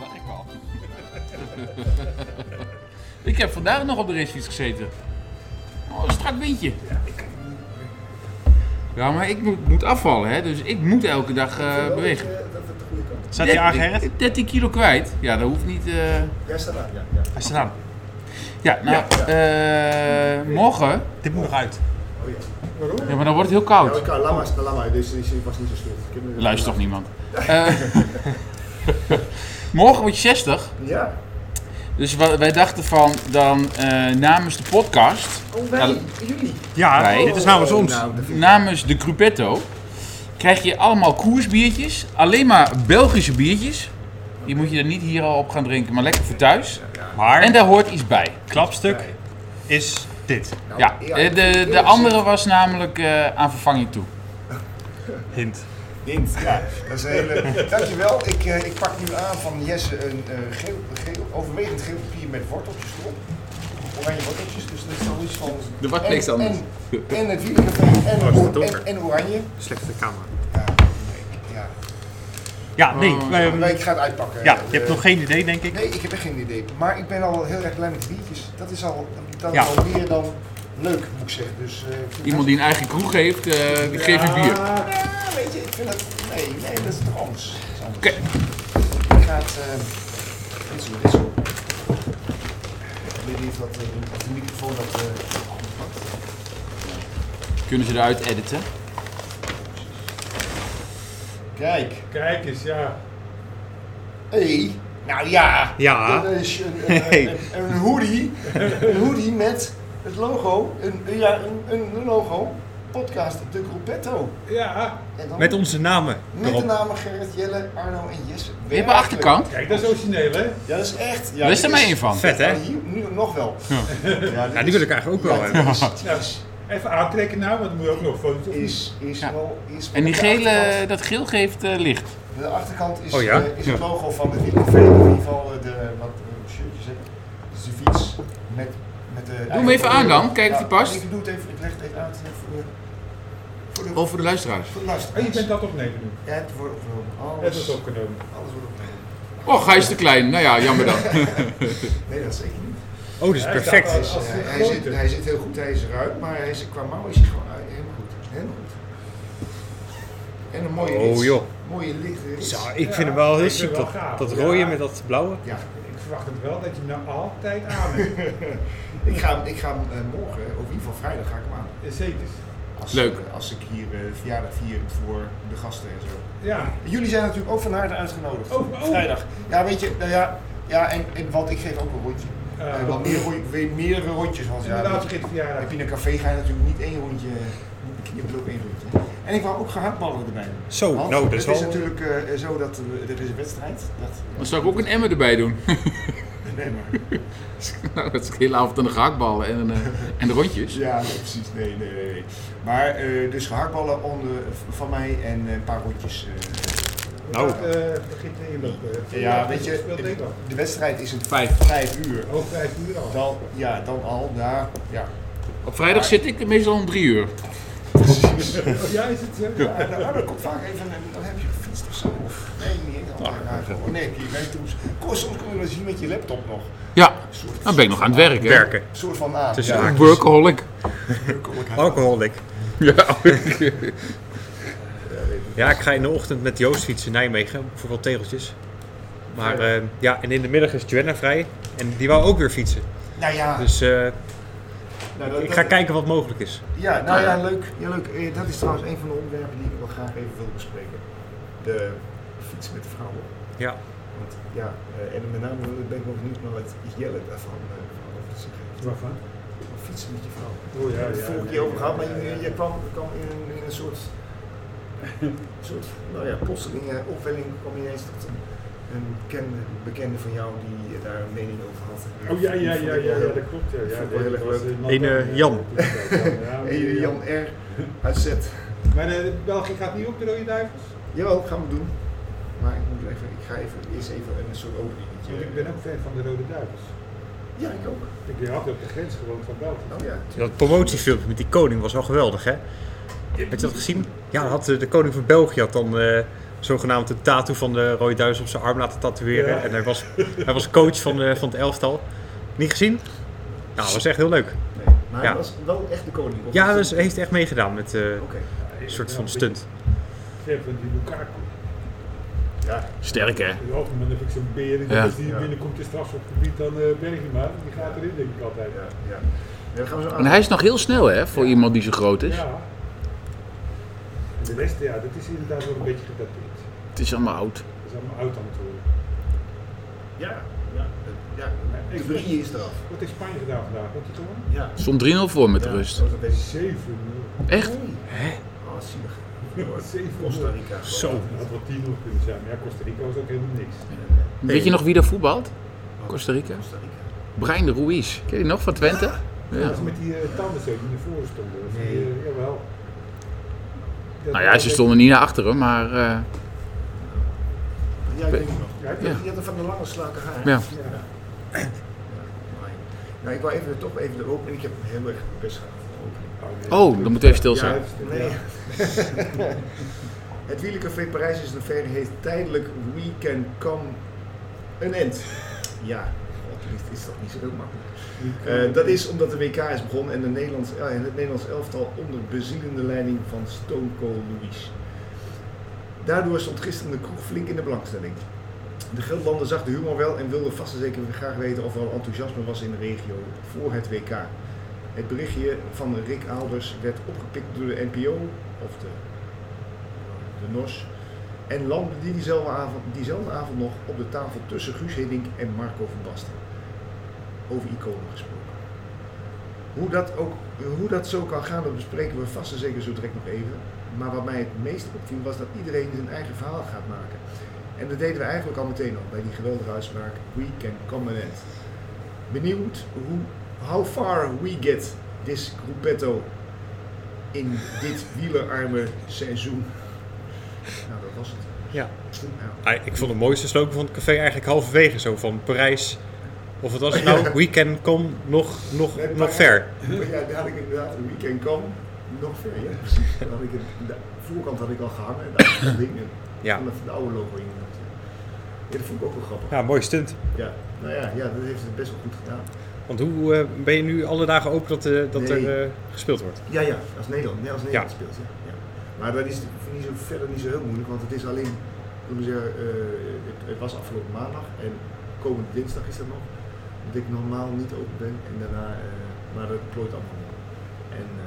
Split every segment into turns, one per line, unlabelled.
waar ik kwam. ik heb vandaag nog op de racefiets gezeten. Oh, een strak windje. Ja, maar ik moet, moet afvallen, hè? dus ik moet elke dag eh, bewegen.
Zet je aan,
Dertien-
Gerrit?
13 kilo kwijt. Ja, dat hoeft niet. eh,
Jij staat aan, ja. ja.
Hij staat aan.
Ja, nou, eh, morgen.
Dit moet nog uit.
Oh, ja. Waarom?
Ja, maar dan wordt het heel
Ja,
koud.
ik kan, laat maar, laat maar. Deze deze was niet zo slim. Ik heb hem-
Luister toch niemand. Eh, morgen word je 60.
Ja.
Dus wa- wij dachten van, dan eh, namens de podcast, Nou,
Oh,
Ja,
wij,
dat-
jullie.
Ja,
Nee.
dit is namens
Oh,
ons.
nou, dat vind ik-
namens de Gruppetto, krijg je allemaal koersbiertjes. Alleen maar Belgische biertjes. Die moet je er niet hier al op gaan drinken, maar lekker voor thuis.
Maar
En daar hoort iets bij.
klapstuk is dit.
nou,
Ja,
ik
eh,
vind het
de, de
eerlijk
andere was namelijk eh, aan vervanging toe.
Hint.
Hint, ja. Dat is een hele... Dankjewel. Ik, eh, ik pak nu aan van Jesse een eh, geel, geel, overwegend geel papier met worteltjes erop. Oranje worteltjes, dus dat is dan iets van...
Er wordt
en-
niks anders.
En, en het wielercafé en,
Oh, is het
or-
donker.
en, en oranje.
Slechte camera.
Ja, nee, ja.
Ja, nee. wij-
Maar ik ga het uitpakken.
ja,
Eh,
je hebt nog geen idee, denk ik.
Nee, ik heb echt geen idee. Maar ik ben al heel erg blij met de biertjes. Dat is al, dat
Ja.
is al meer dan leuk, moet ik zeggen. Dus, eh, ik vind het
Iemand die een eigen kroeg heeft, eh, die geeft een bier.
Ja, weet je, ik vind dat. Nee, nee, dat is toch anders. Dat is anders.
Oké.
Ik ga het. eh, dit zo, dit zo. Ik weet niet wat, eh, of de microfoon dat. eh, oppakt.
Kunnen ze eruit editen?
Kijk.
Kijk eens, ja.
Hé. Nou ja.
Ja.
Een, eh, sh- een, eh,
Ah. Hey.
een- een hoodie. Een hoodie met het logo. Een, een- ja, een, een, een logo. Podcast De Gruppetto.
Ja.
En dan
Met onze namen
met de
erop.
namen Gerrit, Jelle, Arno en Jesse.
Je hebt een achterkant.
Kijk, dat is origineel, hè?
Ja, dat is echt. Ja,
Daar is er
dit
maar één van.
Vet, hè?
Ja, hier, nu nog wel. Ja, dit
Ja, Nou, die wil ik eigenlijk ook wel
Ja,
hebben.
dit is, dit is,
Nou, Even aantrekken nou, want dan moet je ook nog foto's.
is, is
Ja.
wel... Is
En die
de
gele,
achterkant-
dat geel geeft eh, licht.
De achterkant is,
Oh ja?
eh, is het logo van de wielercafé. In ieder geval eh, de, wat eh, shirtjes hebben. Dus de fiets met... met de Doe
hem even aan dan, kijk of die past.
Ik doe het even, ik leg het even aan. Het is even voor de, voor de,
Of voor de luisteraars.
voor de luisteraars.
En Oh, je bent dat opnemen
Ja,
nu.
het wordt opgenomen.
Dat
Alles,
is opgenomen.
alles wordt opgenomen.
Och, hij is te klein. Nou ja, jammer dan.
Nee, dat zeker niet.
Oh, dit is perfect.
Hij, is,
Als
eh,
het
hij,
groter.
zit, hij zit heel goed, hij is ruim, maar hij is, qua mouw is hij gewoon uit, helemaal goed. Helemaal goed. En een mooie
Oh,
rits.
joh.
Mooie lichte rits.
Zo, ik vind hem wel heel
ik vind
chic,
het wel
toch?
gaaf.
Dat rode
Ja.
met dat blauwe.
Ja,
Ik verwacht het wel dat je hem nou altijd aan hebt.
ik ga, hem- ik ga hem eh, morgen, of in ieder geval vrijdag, ga ik hem aan.
Zeker.
Als,
Leuk.
eh, als ik hier eh, verjaardag vier voor de gasten en zo.
Ja.
Jullie zijn natuurlijk ook van harte uitgenodigd.
Oh, oh.
Vrijdag. Ja, weet je, nou ja, ja en, en want ik geef ook een rondje.
Eh,
Eh, wel meer, rond- weer meerdere rondjes. Want, ja,
Inderdaad, vergeet de verjaardag.
Heb je in een café ga je natuurlijk niet één rondje. Je hebt ook één rondje. En ik wou ook gehaktballen erbij doen.
Zo,
Want
nou, dat is
het
wel...
is natuurlijk eh, zo dat eh, er is een wedstrijd. Dat,
Dan zou ik ook een emmer erbij doen.
nee, maar.
Nou, dat is de hele avond aan de gehaktballen en, eh, en de rondjes.
Ja, nee, precies. Nee, nee, nee. nee. Maar eh, dus gehaktballen onder, van mij en eh, een paar rondjes. eh.
Nou.
begint Nederland. eh,
ja, weet
speelt
je,
Nederland.
de wedstrijd is een
Vijf.
vijf uur.
Hoog vijf uur al.
Dan, ja, dan al, na, ja.
Op vrijdag zit ik meestal om drie uur.
Oh, Ja, is het eh? zo?
Ja, nou, dan komt vaak even, een- dan heb je gefietst of zo. Of, nee, niet
Ah,
helemaal. Ja, gewoon, nee, heb je je toes. Kom, soms kom je wel eens hier met je laptop nog.
Ja,
Een soort-
dan ben ik nog aan het werk. Hè?
Werken.
Een soort van aan.
Tussen
ja.
haakjes.
Workaholic.
Alcoholic.
Ja.
Ja, ik ga in de ochtend met Joost fietsen in Nijmegen voor wat tegeltjes. Maar eh, ja, en in de middag is Joanna vrij. En die wou ook weer fietsen.
Nou ja,
Dus eh,
nou, dat-
ik
dat-
ga kijken wat mogelijk is.
Ja, nou ja, leuk. Ja, leuk. Eh, dat is trouwens een van de onderwerpen die ik wel graag even wil bespreken. De fiets met vrouwen.
Ja.
Want ja, eh, en met name ben ik wel benieuwd naar wat Jelle daarvan eh, van over te zeggen heeft.
Waarvan?
Van Fietsen met je vrouw.
Oh
We
ja,
hebben het
ja,
vorige
ja,
keer over gehad, maar
ja, ja.
je, je kwam, kwam in, een- in een soort, soort nou ja, plotseling eh, opwelling kwam je ineens tot een, een bekende, bekende van jou die daar een mening over had.
Oh ja, ja, ja, ja, ja, dat klopt. Ja,
vond
ja,
ik wel heel erg leuk.
Een, eh, Jan.
Hey, Jan R. uit Zet.
Maar eh, België gaat niet op de Rode Duivels?
Jawel, gaan we doen. Maar ik, moet even, ik ga even, eerst even een soort overliggetje.
Want ik ben ook fan van de Rode Duivels.
Ja, ik ook.
Ik ben altijd op de grens gewoond van België.
Oh ja.
Dat promotiefilmpje met die koning was wel geweldig, hè? Heb je dat gezien? Ja, dan had eh, de koning van België had dan eh, zogenaamd een tattoo van de Rode Duivels op zijn arm laten tatoeëren.
Ja.
En hij was, hij was coach van, de, van het elftal. Niet gezien? Nou, was echt heel leuk.
Nee, maar
Ja.
hij was wel echt de koning. of
Ja,
niet?
dus hij heeft echt meegedaan met eh,
Oké.
een soort van stunt.
Ik vind die Lukaku.
Ja,
Sterk hè?
In het algemeen heb ik zo'n beer in
Ja.
als die
Ja.
binnenkomt in strafschopgebied dan eh Bergema. Die gaat erin denk ik altijd.
ja, ja. Ja, we gaan zo aan.
En hij is nog heel snel hè, voor iemand die zo groot is.
Ja. En de rest, ja, dat is inderdaad wel een beetje gedateerd.
Het is allemaal oud.
Dat is allemaal oud aan het worden.
Ja, ja, ja.
Ik-
De Vrie is eraf.
Wat heeft Spanje gedaan vandaag? Wat die gewoon?
Ja.
Stond 3-0 voor met de
Ja,
rust.
dat was een beetje-
7
Echt?
Oh, zielig.
Zeven
Costa
nul.
Rica.
Zo.
Dat had wel 10 nog kunnen zijn, maar ja, Costa Rica was ook helemaal niks.
Weet je nog wie daar voetbalt?
Oh,
Costa Rica.
Costa Rica.
Brian de Ruiz. Ken je die nog van Twente?
Dat is met die eh, tanden zo die naar voren stonden. Of die,
Nee.
eh, jawel. Dat
Nou ja, ze stonden niet naar achteren, maar eh,
Ja, ik weet het nog.
Ja,
Je
Ja.
had een van de lange slaken haar.
Ja.
ja.
Maar- Nou, ik wou even toch even de opening. Ik heb heel erg mijn best gedaan voor de opening.
Oh, dan moet even stil zijn.
Nee. het Wielencafé Parijs is een verre heet tijdelijk We Can Come An End. Ja, alsjeblieft is dat niet zo heel makkelijk. Eh, dat is omdat de WK is begonnen en de Nederlands, ja, en het Nederlands elftal onder bezielende leiding van Stone Cold Louis. Daardoor stond gisteren de kroeg flink in de belangstelling. De Gelderlander zag de humor wel en wilde vast en zeker graag weten of er al enthousiasme was in de regio voor het WK. Het berichtje van Rick Alders werd opgepikt door de NPO, of de, de NOS, en landde die diezelfde, avond, diezelfde avond nog op de tafel tussen Guus Hiddink en Marco van Basten. Over iconen gesproken. Hoe dat, ook, hoe dat zo kan gaan, dat bespreken we vast en zeker zo direct nog even. Maar wat mij het meest opviel was dat iedereen zijn eigen verhaal gaat maken. En dat deden we eigenlijk al meteen al bij die geweldige uitspraak We Can Come an End. Benieuwd hoe, how far we get this gruppetto in dit wielerarme seizoen. Nou, dat was het.
Ja.
Ja.
Ah, ik vond de mooiste slogan van het café eigenlijk halverwege zo van Parijs. Of wat was het nou? We can come nog, nog,
Nee,
nog
Parijs.
ver.
Maar ja, daar had ik inderdaad een weekend kwam. Nog ver, ja, precies. Dan had ik het- de voorkant had ik al gehangen en daar had ik dat ding in.
Ja.
Van de, van de oude logo in. Ja, dat vond ik ook wel grappig.
Ja, mooi stunt.
Ja, nou ja, ja, dat heeft het best wel goed gedaan.
Want hoe eh, ben je nu alle dagen open dat, eh, dat er
Nee.
eh, gespeeld wordt?
Ja, ja, als Nederland, nee, als Nederland
Ja.
speelt. Ja. Ja. Maar dat is niet zo, verder niet zo heel moeilijk, want het is alleen, hoe moet ik zeggen, eh, het, het was afgelopen maandag en komende dinsdag is dat nog, dat ik normaal niet open ben en daarna, eh, maar dat plooit allemaal nog. En eh,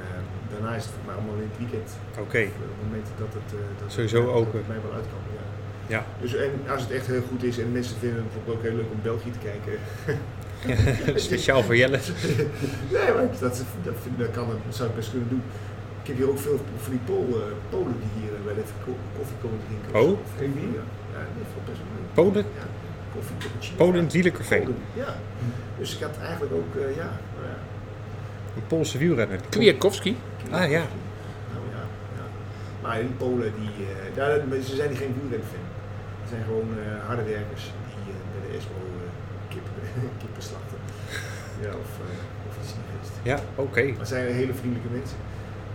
daarna is het maar allemaal in het weekend,
Oké,
op het moment dat het, eh, dat het-
Sowieso
dat het
open.
mij wel uit kan. Ja.
ja.
Dus en als het echt heel goed is en mensen vinden het bijvoorbeeld ook heel leuk om België te kijken,
Speciaal voor Jelle.
Nee, maar dat, dat, vind- dat, kan, dat zou ik best kunnen doen. Ik heb hier ook veel van die Polen, Polen die hier eh, wel even ko- koffie komen drinken.
Oh?
Of-
Geen bier?
Ja, ja dat valt best wel mee.
Polen?
Ja, koffie, cappuccino.
Polen het wielercafé.
Polen, ja. Dus ik had eigenlijk ook, eh, ja, nou ja.
Een Poolse wielrenner.
Kwiatkowski.
Ah ja.
Nou ja, ja. Maar die Polen, die, eh, daar, maar ze zijn geen wielrenfan. Ze zijn gewoon eh, harde werkers die eh, bij de ESPO eh, kippen, kippen slachten. Ja, of, eh, of iets in die geest.
Ja, oké.
Maar ze zijn hele vriendelijke mensen.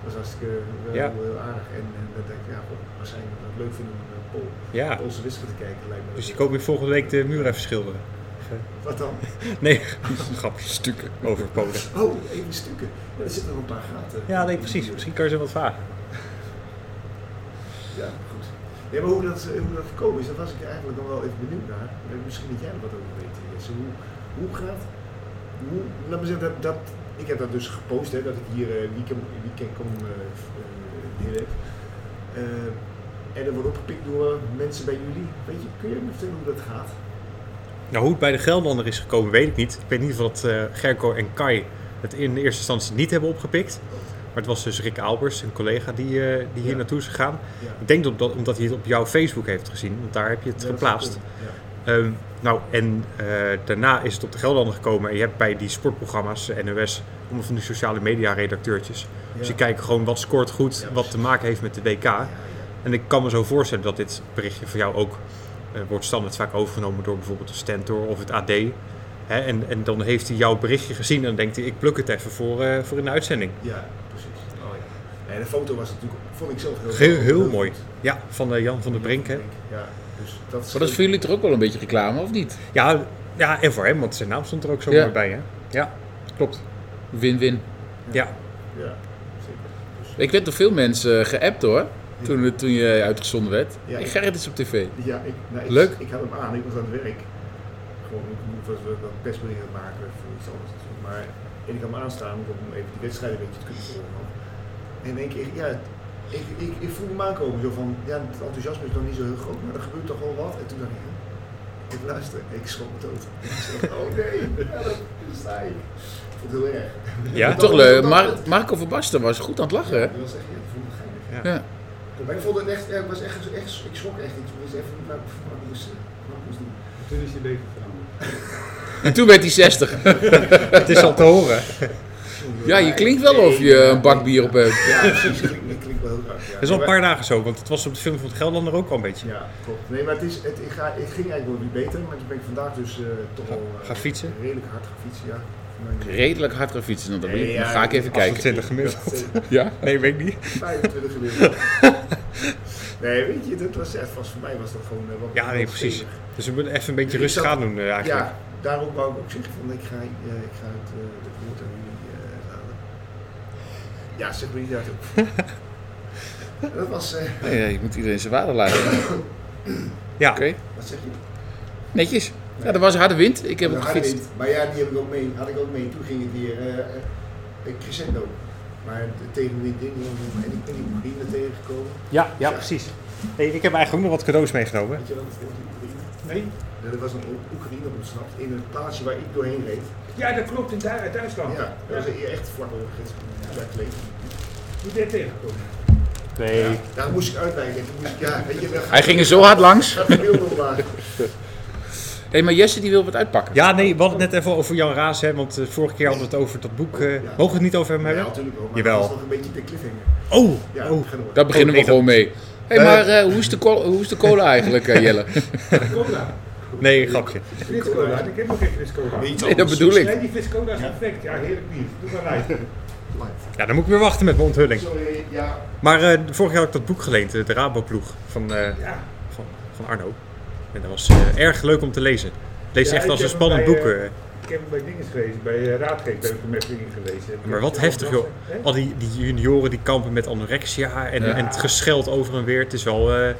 Dat is hartstikke eh, wel
Ja.
heel, heel aardig. En, en dat denk ik, ja, god, als zij dat leuk vinden om naar Pool,
Ja.
Poolse wisselen te kijken, lijkt me.
Dus ik hoop weer volgende week de muur even schilderen.
Wat dan?
Nee, grapje, stukken over Polen.
Oh, even stukken. Ja, er zitten nog een paar gaten.
Ja, nee, precies. Misschien kan je ze wat vragen.
Ja, goed. Nee, maar hoe dat, eh, hoe dat gekomen is, daar was ik eigenlijk nog wel even benieuwd naar. Eh, Misschien dat jij er wat over weet. Jesse. Hoe, hoe gaat, hoe, laat me zeggen, dat, dat, ik heb dat dus gepost, hè, dat ik hier eh, weekend, weekend kom eh eh, hier heb. Eh, en dat wordt opgepikt door mensen bij jullie. Weet je, kun je me vertellen hoe dat gaat?
Nou, hoe het bij de Gelderlander is gekomen, weet ik niet. Ik weet niet of dat eh, Gerco en Kai het in eerste instantie niet hebben opgepikt. Maar het was dus Rick Albers, een collega, die, eh, die hier
Ja.
naartoe is gegaan.
Ja.
Ik denk dat, dat omdat hij het op jouw Facebook heeft gezien, want daar heb je het
Ja, dat
geplaatst.
zou kunnen,
Ehm, nou, en eh, daarna is het op de Gelderlander gekomen. En je hebt bij die sportprogramma's, eh, NOS, allemaal van die sociale media redacteurtjes.
Ja.
Dus je kijkt gewoon wat scoort goed,
Ja,
wat te maken heeft met de WK.
Ja, ja.
En ik kan me zo voorstellen dat dit berichtje voor jou ook eh, wordt standaard vaak overgenomen door bijvoorbeeld de Stentor of het AD. Hè, en, en dan heeft hij jouw berichtje gezien en dan denkt hij, ik pluk het even voor, eh, voor in de uitzending.
Ja, precies. Oh, ja. En de foto was natuurlijk, vond ik zelf heel
Heel, heel
goed.
mooi. Ja, van eh, Jan van der Brink. Hè?
Ja, dus dat is,
Maar dat is voor jullie toch ook wel een beetje reclame, of niet?
Ja, ja, en voor hem, want zijn naam stond er ook zo
Ja.
mooi bij. Hè? Ja, klopt.
Win-win.
Ja,
Ja, zeker. Dus,
Ik werd door veel mensen eh, geappt hoor, toen, het- toen je uitgezonden werd.
Ja,
ik
ik-
Gerrit is op tv.
ja, ik, nou, ik,
Leuk.
Ik had hem aan, ik was aan het werk. Gewoon, ik was wel dat persbericht aan het maken voor iets anders. natuurlijk. Maar en ik had hem aanstaan om even die wedstrijd een beetje te kunnen volgen. En in één keer, ja, ik, ik, ik voelde hem aankomen zo van, ja, het enthousiasme is nog niet zo heel groot, maar er gebeurt toch wel wat. En toen dacht ik, ik luister, ik schrok me dood. Ik zeg, oh nee, ja, dat daar sta ik. Ik vond het heel erg.
ja.
Toch leuk.
maar
Mar- Marco van Basten was goed aan het lachen hè?
Dat was echt, ja, ik voelde het geinig.
Ja.
Maar ik vond het echt, ja, ik was echt, echt ik schrok echt. Ik wist even niet waar ik waar ik moest, waar ik moest doen.
Toen is je leven veranderd.
En toen werd hij 60.
het is al te horen.
Ja, je klinkt wel of je een bak bier op hebt.
Ja, precies. Dat klinkt, dat klinkt wel heel raar. Ja.
Dat is al een
Maar-
paar dagen zo, want het was op de film van het Gelderlander ook al een beetje.
Ja, klopt. Nee, maar het, is, het, ik ga, het ging eigenlijk wel weer beter, maar toen ben ik vandaag dus eh, toch
Ga-
wel... eh,
ga fietsen?
Redelijk hard gaan fietsen, ja.
Redelijk hard gaan fietsen, dan,
Nee, ja,
dan ga ik even
als
kijken.
28 gemiddeld.
Zeker.
Ja?
Nee, weet ik niet.
25 gemiddeld. Nee, weet je, dat was echt, was, voor mij was dat gewoon... eh, wat-
Ja, nee,
wat
precies.
stevig.
Dus we moeten even een beetje
Ik
rustig
zat-
aan doen eh, eigenlijk.
Ja, daarom wou ik ook zeggen van ik ga, eh, ik ga het, eh, de woord aan jullie eh, laten. Ja, zet me niet uit. dat was, eh,
Nee, nee, je moet iedereen zijn waarde laten. Oké,
Ja,
wat zeg je?
netjes. Ja, dat was harde wind. Ik heb
Nou,
het
harde
gefietst.
wind. Maar ja, die heb ik ook mee, had ik ook mee. Toen ging het weer eh eh, crescendo. Maar de- tegen de wind in en ik ben die marine tegengekomen.
ja,
ja,
precies. Hey, ik heb eigenlijk ook nog wat cadeaus meegenomen.
Weet je wel, dat was die Oekraïne.
Nee?
Ja, Er was een Oe- Oekraïne ontsnapt in een plaatsje waar ik doorheen reed.
Ja, dat klopt. In Du- uit
Oh.
Duitsland.
Ja, dat was echt vlak over de grens. Daar kleed.
Hoe ben je tegengekomen?
Nee.
Daar moest ik uitwijken. Toen moest ik, ja, weet je, dan ga
Hij ging er zo hard langs.
gaat de beelden omlaag.
Hé, maar Jesse die wil wat uitpakken.
Ja, nee, we hadden het net even over Jan Raas, hè, want eh, vorige keer hadden we het over dat boek. eh,
Ja.
Mogen we het niet over hem
Ja,
hebben?
natuurlijk ook. Maar
Jawel.
dat is nog een beetje de cliffhanger.
Oh,
Ja,
oh.
ga door.
Daar beginnen we
Oh, nee,
gewoon mee. Hé,
Eh.
maar eh, hoe, is de cola, hoe is de cola eigenlijk, eh, Jelle?
Cola.
Nee, grapje.
Frits Cola. Ik heb nog geen Frits Cola.
Iets
Nee, dat
anders.
bedoel ik.
Nee, die Frits Cola is perfect. Ja, heerlijk bier. Doe maar rijden.
Live.
Ja, dan moet ik weer wachten met mijn onthulling.
Sorry, ja.
Maar eh, vorig jaar had ik dat boek geleend, eh, de Raboploeg van, eh,
Ja.
van, van Arno. En dat was eh, erg leuk om te lezen. Het leest
Ja,
echt
ik
als een
heb hem
spannend
bij,
boek.
eh,
eh.
Ik heb hem bij dingen gelezen, bij eh, raadgevers heb ik hem even ingelezen.
Maar wat heftig, joh. Al die, die junioren die kampen met anorexia en,
Ja.
en het gescheld over en weer. Het is wel, eh,
Ja,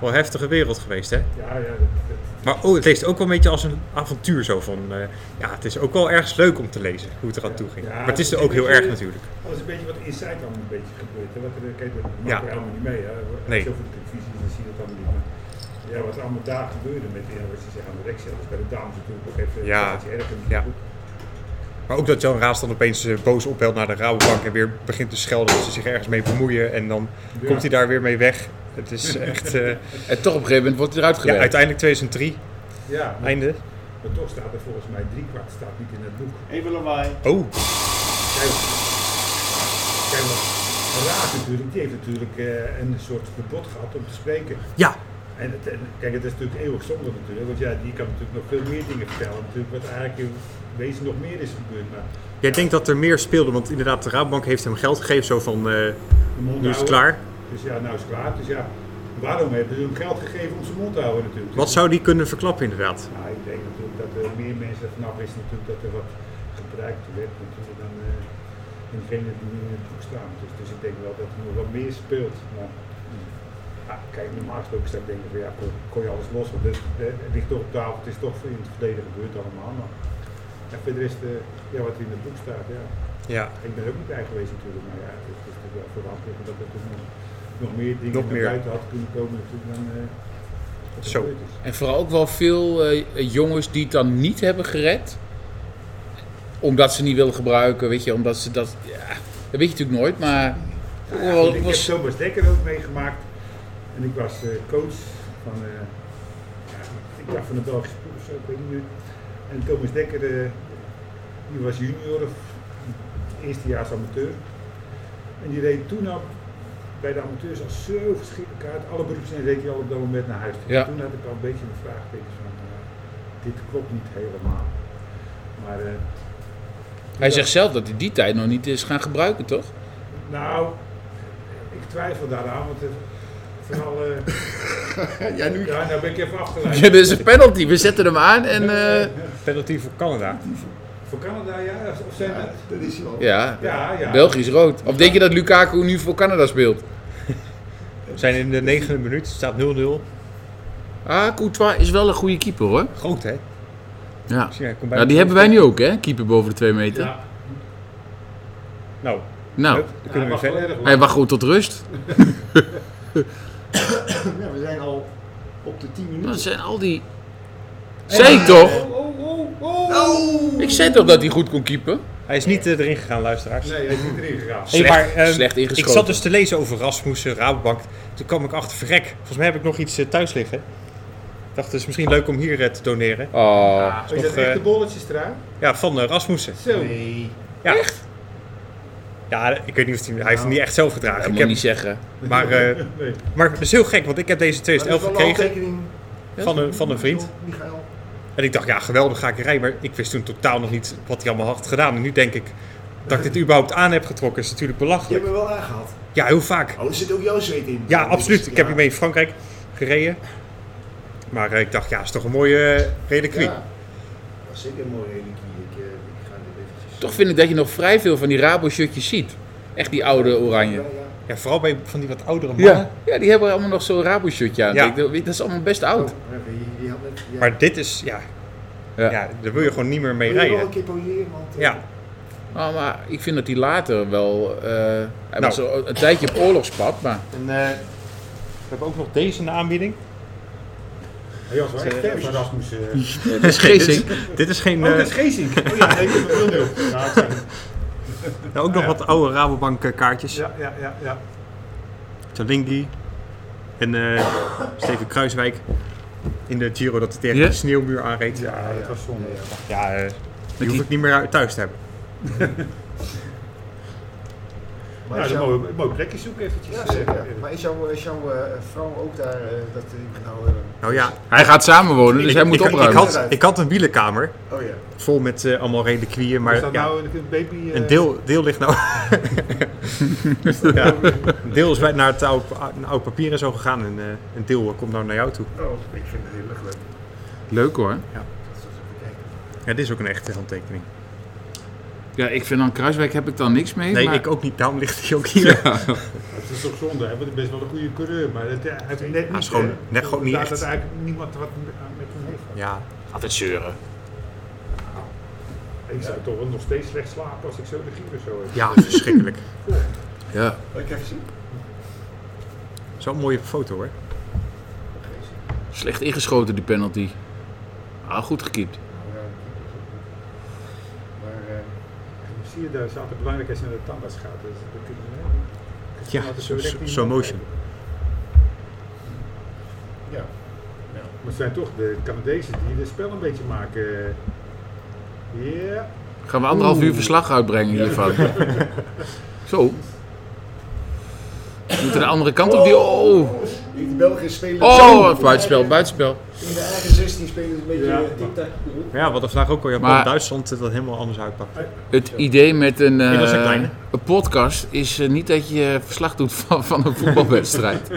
wel een heftige wereld geweest, hè?
ja, ja. Dat, dat-
Maar oh, het leest ook wel een beetje als een avontuur zo van... eh, ja, het is ook wel ergens leuk om te lezen, hoe het eraan toe ging.
Ja,
maar het is
het
er
is
ook heel
een beetje-
erg natuurlijk.
dat is een beetje wat inside allemaal een beetje gebeurt. Hè? Wat er, kijk, dat maakt
Ja.
er allemaal niet mee. Hè? Als
Nee.
je over de televisie is, dan zie je dat allemaal niet. Maar, ja, wat er allemaal daar gebeurde met ja, wat je zegt aan de rechtszaal. Dus bij de dames natuurlijk ook even
Ja.
dat je erger
Ja.
moet-
Maar ook dat Jan Raas dan opeens eh, boos ophelt naar de Rabobank en weer begint te schelden dat ze zich ergens mee bemoeien. En dan
Ja.
komt hij daar weer mee weg. Het is echt... eh,
En toch op een gegeven moment wordt hij eruit
ja,
gewerkt.
uiteindelijk 2003.
Ja, maar,
Einde.
maar toch staat er volgens mij drie kwart staat niet in het boek.
Even lawaai.
Oh,
Kijk, kijk wat Raad natuurlijk, die heeft natuurlijk eh, een soort verbod gehad om te spreken.
ja.
En het, en kijk, het is natuurlijk eeuwig zonde natuurlijk, want ja, die kan natuurlijk nog veel meer dingen vertellen, natuurlijk, wat eigenlijk in wezen nog meer is gebeurd. Maar
Jij denkt dat er meer speelde, want inderdaad, de Rabobank heeft hem geld gegeven. Zo van, eh,
de mond
nu is het
houden-
klaar.
Dus ja, nou is het klaar. Dus ja, waarom hebben ze hem geld gegeven om zijn mond te houden natuurlijk?
Wat zou die kunnen verklappen inderdaad?
Nou, ik denk natuurlijk dat er meer mensen vanaf wisten natuurlijk dat er wat gebruikt werd natuurlijk dan eh degene die nu in het boek staan. Dus, dus ik denk wel dat er nog wat meer speelt. Maar, ja, kijk, normaal gesproken zou ik denken van ja, kon, kon je alles los. Want het, eh, het ligt toch op tafel, het is toch in het verleden gebeurd allemaal. Maar ja, verder is het, eh, ja, wat er in het boek staat, ja.
Ja.
Ik ben er ook niet bij geweest natuurlijk, maar ja, het is natuurlijk wel verwachtelijk dat er toen nog, nog meer dingen
Nog
naar
meer.
buiten had kunnen komen natuurlijk dan eh, wat er
Zo.
gebeurd is.
En vooral ook wel veel eh, jongens die het dan niet hebben gered. Omdat ze niet willen gebruiken, weet je, omdat ze dat... Ja, dat weet je natuurlijk nooit, maar...
Nou ja,
Wel,
goed, ik
was-
heb Thomas Dekker ook meegemaakt. En ik was eh, coach van, eh, ja, ik dacht van de Belgische ploeg of zo, ik weet niet meer. En Thomas Dekker, eh, die was junior of eerstejaars amateur. En die reed toen al bij de amateurs als zo verschrikkelijk uit. Alle beroeps en reed hij al op dat moment naar huis. toe.
Ja.
Toen had ik al een beetje mijn vraagtekens van, eh, dit klopt niet helemaal. Maar eh,
Hij zegt zelf dat hij die tijd nog niet is gaan gebruiken, toch?
nou, twijfel daaraan, want het, vooral, eh,
Ja, nu...
ja, nou ben ik even afgeleid.
Ja, dit is een penalty. We zetten hem aan en... eh,
Penalty voor Canada.
Voor Canada, ja, of zijn dat?
Dat is hij wel.
ja,
Ja, ja.
Belgisch rood. Of denk je dat Lukaku nu voor Canada speelt?
We zijn in de negende minuut, staat 0-0.
Ah, Courtois is wel een goede keeper hoor.
Groot hè?
Ja.
Zie jij, kom bij
Nou,
de
die hebben wij
tweede.
nu ook hè, keeper boven de 2 meter.
Ja,
Nou,
Nou,
hup, dan
ja,
kunnen we
mag
verder.
volledig
hij wacht gewoon tot rust.
Ja, we zijn al op de 10 minuten.
Dat zijn al die... Zei ik toch?
Oh, oh, oh, oh.
Ik zei toch dat hij goed kon keepen?
Hij is niet eh, erin gegaan, luisteraars.
Nee, hij is niet erin gegaan.
Hey,
Slecht-
maar, ehm,
slecht
ik
ingeschoten.
zat dus te lezen over Rasmussen, Rabobank. Toen kwam ik achter, verrek, volgens mij heb ik nog iets eh, thuis liggen. Ik dacht, het is misschien leuk om hier eh, te doneren.
Oh.
Is dat
Toch, eh,
echt de bolletjes eraan?
Ja, van eh, Rasmussen.
Zo.
Nee.
Ja. Ja, ik weet niet of hij, hij heeft hem niet echt zelf gedragen.
Dat
ik
moet
heb,
ik niet zeggen.
maar, eh,
Nou. Nee.
maar het is heel gek, want ik heb deze 2011 gekregen van een, van een vriend.
Michael.
En ik dacht, ja, geweldig ga ik rijden. Maar ik wist toen totaal nog niet wat hij allemaal had gedaan. En nu denk ik dat ik dit überhaupt aan heb getrokken. is natuurlijk
Je hebt
belachelijk.
me wel aangehad.
Ja, heel vaak.
Oh, er zit ook jouw zweet in.
Ja, absoluut. Ik heb
Ja.
hiermee in Frankrijk gereden. Maar eh, ik dacht, ja, is toch een mooie eh, reliquie.
Ja. Dat is zeker een mooie reliquie. Ik, eh, ik ga dit eventjes...
Toch vind ik dat je nog vrij veel van die Rabo-shirtjes ziet. Echt die oude oranje.
Ja, ja.
Ja, vooral bij van die wat oudere mannen.
Ja, die hebben allemaal nog zo'n Rabo-shirtje aan.
Ja.
Ik denk, Dat is allemaal best oud.
Oh, je, je had net... Ja.
Maar dit is, ja, ja.
Ja.
daar wil je gewoon niet meer mee
Wil je wel een
rijden.
keer poseren, want... eh,
Ja,
Oh, maar ik vind dat hij later wel... eh, hij
Nou.
was zo een tijdje op oorlogspad, maar...
en eh, we hebben ook nog deze in de aanbieding.
Hij was wel echt ver van Rasmus. eh.
Dat is Geesink.
Dit is geen,
Oh,
eh,
dat is Geesink. Oh ja, nee, ik heb het wel nul. Ja, het zijn-
nou, ook nog wat oude Rabobank eh, kaartjes.
ja, ja, ja, ja.
Talingi en eh, Steven Kruiswijk in de Giro dat hij tegen
Ja.
de sneeuwmuur aanreed. Ja,
Ja, dat was zonde. Nou, ja.
eh, die
die-
hoef ik niet meer thuis te hebben.
Maar
Nou,
is
dan
jouw-
mogen we- mogen we plekje zoeken eventjes.
Ja,
eh.
zeker. Maar is jouw, is jouw eh, vrouw ook daar, eh, dat ik nou... eh,
Nou ja,
Hij gaat samenwonen, dus
ik,
hij moet
ik- ik
opruimen.
had, ik had een wielenkamer
oh ja.
vol met eh, allemaal reliquieën,
Is
maar
dat
ja,
nou een baby? eh,
een deel, deel ligt nou... ja,
nou-
een deel is bij, naar het oude, naar oud papier en zo gegaan en eh, een deel eh, komt nou naar jou toe.
Oh, ik vind het heel erg leuk.
Leuk hoor.
Dat is even kijken.
Ja, dit is ook een echte handtekening.
Ja, ik vind aan Kruiswijk heb ik dan niks mee.
Nee,
maar...
ik ook niet. Daarom ligt hij ook hier.
Het is toch zonde, hè? want het is best wel een goede coureur, maar het, hij heeft net
Ja, is
niet...
gewoon-
eh,
net gewoon niet
laat
echt.
het eigenlijk niemand wat aan met hem heeft.
Ja,
Altijd zeuren.
Ik zou toch wel nog steeds slecht slapen als ik zo de gieper zo heb.
ja verschrikkelijk.
Ja.
Wil ik even zien?
Zo'n mooie foto hoor.
Slecht ingeschoten die penalty. Ah, goed gekiept.
Ja, Maar, eh,
Zie je, daar zaten belangrijkheid aan de tandarts gaat. Dus dat kun je,
Ja,
hè? Laten we
zo-
direct in-
zo'n motion.
ja.
Maar het zijn toch de Canadezen die het spel een beetje maken. Ja.
Gaan we anderhalf uur verslag uitbrengen hiervan. Zo. We moeten de andere kant op die... Oh,
Die Belgen spelen
oh, buitenspel, buitenspel.
In de eigen 16 spelen ze een beetje
Ja.
eh, tic-tac.
Ja, we hadden vandaag ook al
Maar-
Japan-Duitsland eh, dat het helemaal anders uitpakt.
Het idee met een, eh,
dat is een kleine.
een podcast is eh, niet dat je verslag doet van, van een voetbalwedstrijd.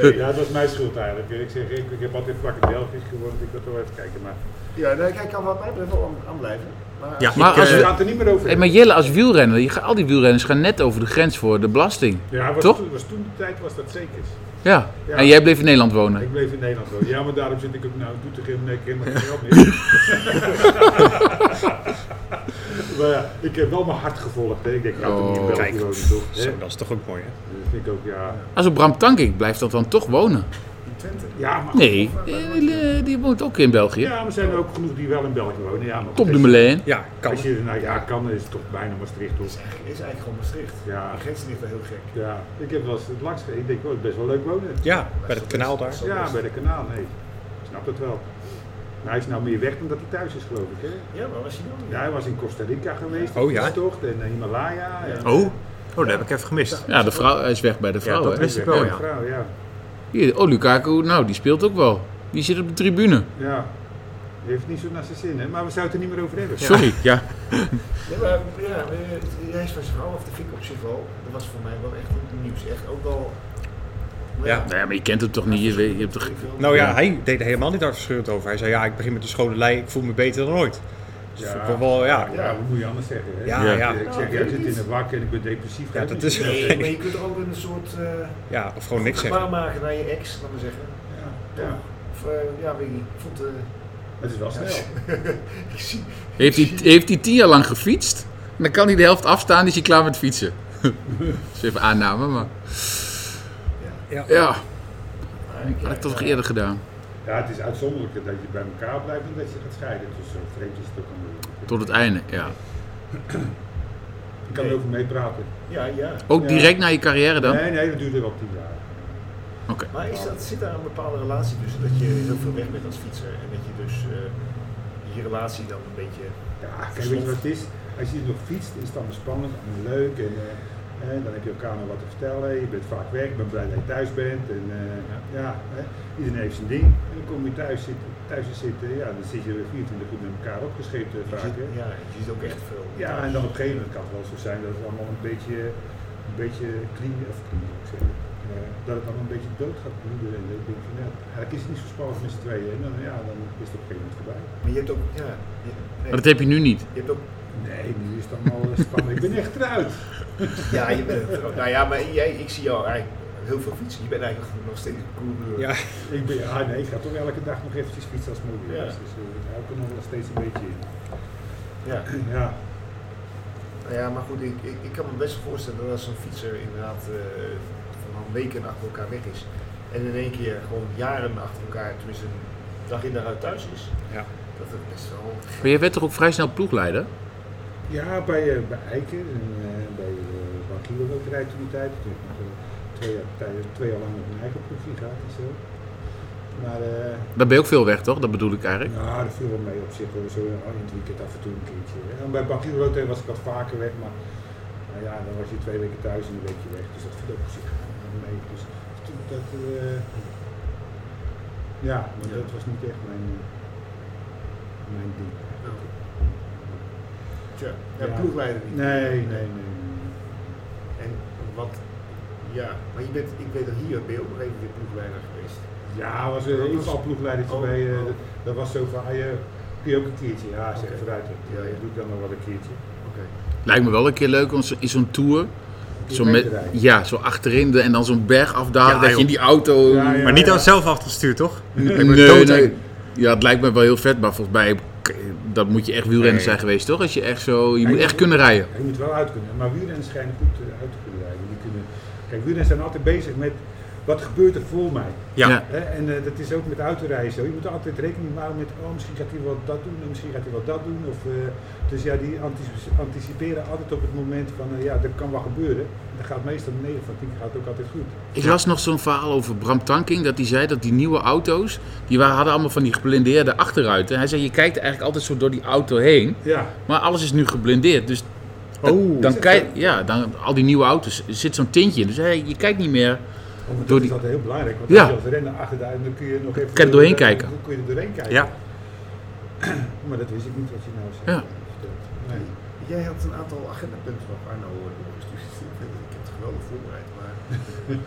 ja, dat was mijn schuld eigenlijk. Ik zeg, ik, ik heb altijd vlak in België gewoond, ik wil toch wel even kijken. Maar
Ja, nou, kijk, kan wat mij betreft wel aan, aan blijven. Maar
Ja,
Maar
ik,
als
eh,
we gaan het er niet meer over
Hey, maar
hebben.
Jelle, als wielrenner, je gaat, al die wielrenners gaan net over de grens voor de belasting.
Ja, was
toch?
Toen, was toen de tijd was dat zeker.
Ja.
Ja.
En jij bleef in Nederland wonen.
Ik bleef in Nederland wonen. Ja, maar daarom zit ik ook nou doet er nee, ik heb helemaal geen geld meer. maar ja, ik heb wel mijn hart gevolgd. Hè. Ik denk, ik ga toch niet in
Oh.
België
Kijk.
wonen, toch? Hè?
Zo, dat is toch ook mooi, hè?
Dat vind ik ook, ja.
Als op Bram Tankink blijft dat dan toch wonen?
in Twente.
Ja, maar,
Nee, die, die- die woont ook in België.
ja, maar zijn er ook genoeg die wel in België wonen. Ja, maar
Top de Melaine.
Ja, kan.
Als je er naar ja, kan, is het toch bijna Maastricht, toch?
Is eigenlijk gewoon Maastricht.
Ja.
De grens ligt wel heel gek.
Ja, ik heb wel eens het langs gereden. Ik denk, oh, het is best wel leuk wonen.
Ja, bij het kanaal daar.
Ja, bij de kanaal, nee. Ik snap het wel. Maar hij is nou meer weg dan dat hij thuis is, geloof ik. Hè?
Ja, maar was je dan?
Ja, hij was in Costa Rica geweest,
Oh,
op
ja.
fietstocht en eh, Himalaya. En,
Oh, oh dat heb ik even gemist.
Ja, de vrouw, hij is weg bij de vrouw.
dat
hè?
wist ik wel, ja.
Vrouw, ja.
Hier, oh, Lukaku, nou, die speelt ook wel. Die zit op de tribune.
ja. Je heeft niet zo naar zijn zin, hè? maar we zouden het er niet meer over hebben.
Sorry, ja.
Ja, maar, ja, eh, hij is van zijn vrouw af, dat vind ik op zich wel. Dat was voor mij wel echt goed nieuws. Echt ook wel. maar
Ja.
Nee, Nou maar je kent hem toch niet? Je, weet- je hebt toch...
ik wil-
Nou ja, hij deed er helemaal niet afgescheurd over. Hij zei, ja, ik begin met de schone lei, ik voel me beter dan ooit. Dus
Ja.
vond ik wel, wel, ja.
Ja, hoe moet je anders zeggen? Hè?
Ja,
Ja.
ja.
Ik zeg, jij zit in een wak en ik ben depressief.
Ja, dat is-
Nee, maar je kunt er ook een soort eh
Ja, of gewoon niks zeggen.
gebaar maken naar je ex, laten we zeggen.
Ja, ja.
Of eh, ja, weet ik niet. Ik vond eh,
Het is wel snel.
ik zie-
Heeft hij, heeft hij tien jaar lang gefietst? En dan kan hij de helft afstaan, is hij klaar met fietsen. dat is even aanname, maar...
Ja.
Ja,
maar ik-
had ik toch nog eerder gedaan.
Ja, het is uitzonderlijk dat je bij elkaar blijft en dat je gaat scheiden. Dus zo vreemd is het ook allemaal niet.
Tot het einde, ja.
Ik kan er over meepraten.
Ja, ja.
Oh,
Ook
Ja.
direct naar je carrière dan?
Nee, nee, dat duurde wel tien jaar.
Oké.
Maar is dat, zit daar een bepaalde relatie tussen? Dat je heel veel weg bent als fietser en dat je dus eh, je relatie dan een beetje.
Ja, kijk, weet je wat het is? Als je nog fietst, is het allemaal spannend en leuk. En, eh, hè, dan heb je elkaar nog wat te vertellen. Je bent vaak weg, ik ben blij dat je thuis bent. En, eh, ja, hè, iedereen heeft zijn ding. En dan kom je thuis zitten, thuis te zitten. Ja, dan zit je weer 24 uur met elkaar opgescheept eh, vaak. hè.
Ja, je ziet ook echt veel.
Ja, en dan op een gegeven moment kan het wel zo zijn dat het allemaal een beetje, een beetje clean, of clean moet ik zeggen. Eh, dat het allemaal een beetje dood gaat bloeden. En ik denk van, ja, eigenlijk is het niet zo spannend met z'n tweeën. En dan, ja, dan is het op een gegeven moment voorbij.
Maar je hebt ook. Ja, je, nee,
Maar dat heb je nu niet.
je hebt ook.
Nee, nu is het allemaal eh, spannend. ik ben echt eruit.
Ja, je bent. nou ja, maar jij, ik zie jou eigenlijk heel veel fietsen. Je bent eigenlijk nog steeds een coureur.
Ja,
Ik ben, ah nee, ik ga toch elke dag nog eventjes fietsen als het mogelijk
Ja.
is. Dus eh, ik hou er nog wel steeds een beetje in.
Ja.
Ja,
Nou ja, maar goed, ik, ik, ik kan me best voorstellen dat als een fietser inderdaad eh, van een weken achter elkaar weg is. En in één keer gewoon jaren achter elkaar, tenminste een dag in dag uit thuis is.
Ja.
Dat het best wel.
Maar jij werd toch ook vrij snel ploegleider?
ja bij, eh, bij Eiken en eh, bij uh, Bankielo Loterij toen de tijd. Toen heb ik nog, eh, twee, jaar, tij- twee jaar lang met mijn eigen proefje gehad en zo. Maar eh,
Daar ben je ook veel weg, toch? Dat bedoel ik eigenlijk.
Nou, dat viel wel mee op zich hoor. Zo in het weekend af en toe een keertje. En bij Bankier Rote was ik wat vaker weg, maar nou ja, dan was je twee weken thuis en een weekje weg. Dus dat viel ook op zich wel mee. Dus toen dat, eh, ja, maar dat was niet echt mijn, mijn ding.
Tja, ja,
Ja.
ploegleider niet.
Nee, nee, nee.
En wat, ja, maar je bent, ik weet dat hier ben je ook nog even weer ploegleider geweest.
Ja, was er in ieder geval ploegleidertje
Oh,
bij. eh,
oh.
dat, dat was zo van, ah, je, kun je ook een keertje? Ja, zeg
Oké.
vooruit. Ja,
Ja, Mm, ja.
dat doe ik dan nog wel een keertje.
Oké.
Lijkt me wel een keer leuk om zo- in zo'n tour. Zo met,
rijden.
ja, zo achterin de, en dan zo'n berg afdalen.
Ja,
dat je in die auto.
Ja, ja.
maar niet aan zelf achter het stuur, toch?
Nee,
doodeng.
nee. Ja, het lijkt me wel heel vet, maar volgens mij. k- Dat moet je echt wielrenner
Nee.
zijn geweest, toch? Als je echt zo. Je
Ja,
moet
je
echt
moet-
kunnen rijden.
Ja, Je moet wel uit kunnen. Maar wielrenners schijnen goed eh, uit te kunnen rijden. Die kunnen... Kijk, wielrenners zijn altijd bezig met wat gebeurt er voor mij.
Ja.
Ja.
Hè? En eh, dat is ook met autorijden zo. Je moet altijd rekening houden met, oh misschien gaat hij wel dat doen en misschien gaat hij wel dat doen. Of, eh, dus ja, die antici- anticiperen altijd op het moment van, eh, ja, dat kan wel gebeuren. En dat gaat meestal 9 van 10 gaat het ook altijd goed.
Ik las nog zo'n verhaal over Bram Tanking. Dat hij zei dat die nieuwe auto's. die wa- hadden allemaal van die geblindeerde achterruiten. Hij zei: je kijkt eigenlijk altijd zo door die auto heen.
Ja,
Maar alles is nu geblindeerd. Dus
Oh,
dan kijk ja, dan, al die nieuwe auto's. er zit zo'n tintje in. Dus hey, je kijkt niet meer.
want dat
Door
is
die-
altijd heel belangrijk. Want
Ja.
als je als renner achteruit, dan kun je nog even...
Kan je doorheen
dan
kijken.
kun je er doorheen kijken.
Ja.
Maar dat wist ik niet wat je nou zegt.
Ja.
Nee.
Jij had een aantal agendapunten van Arno doorgestuurd. Ik heb het geweldig voorbereid, maar...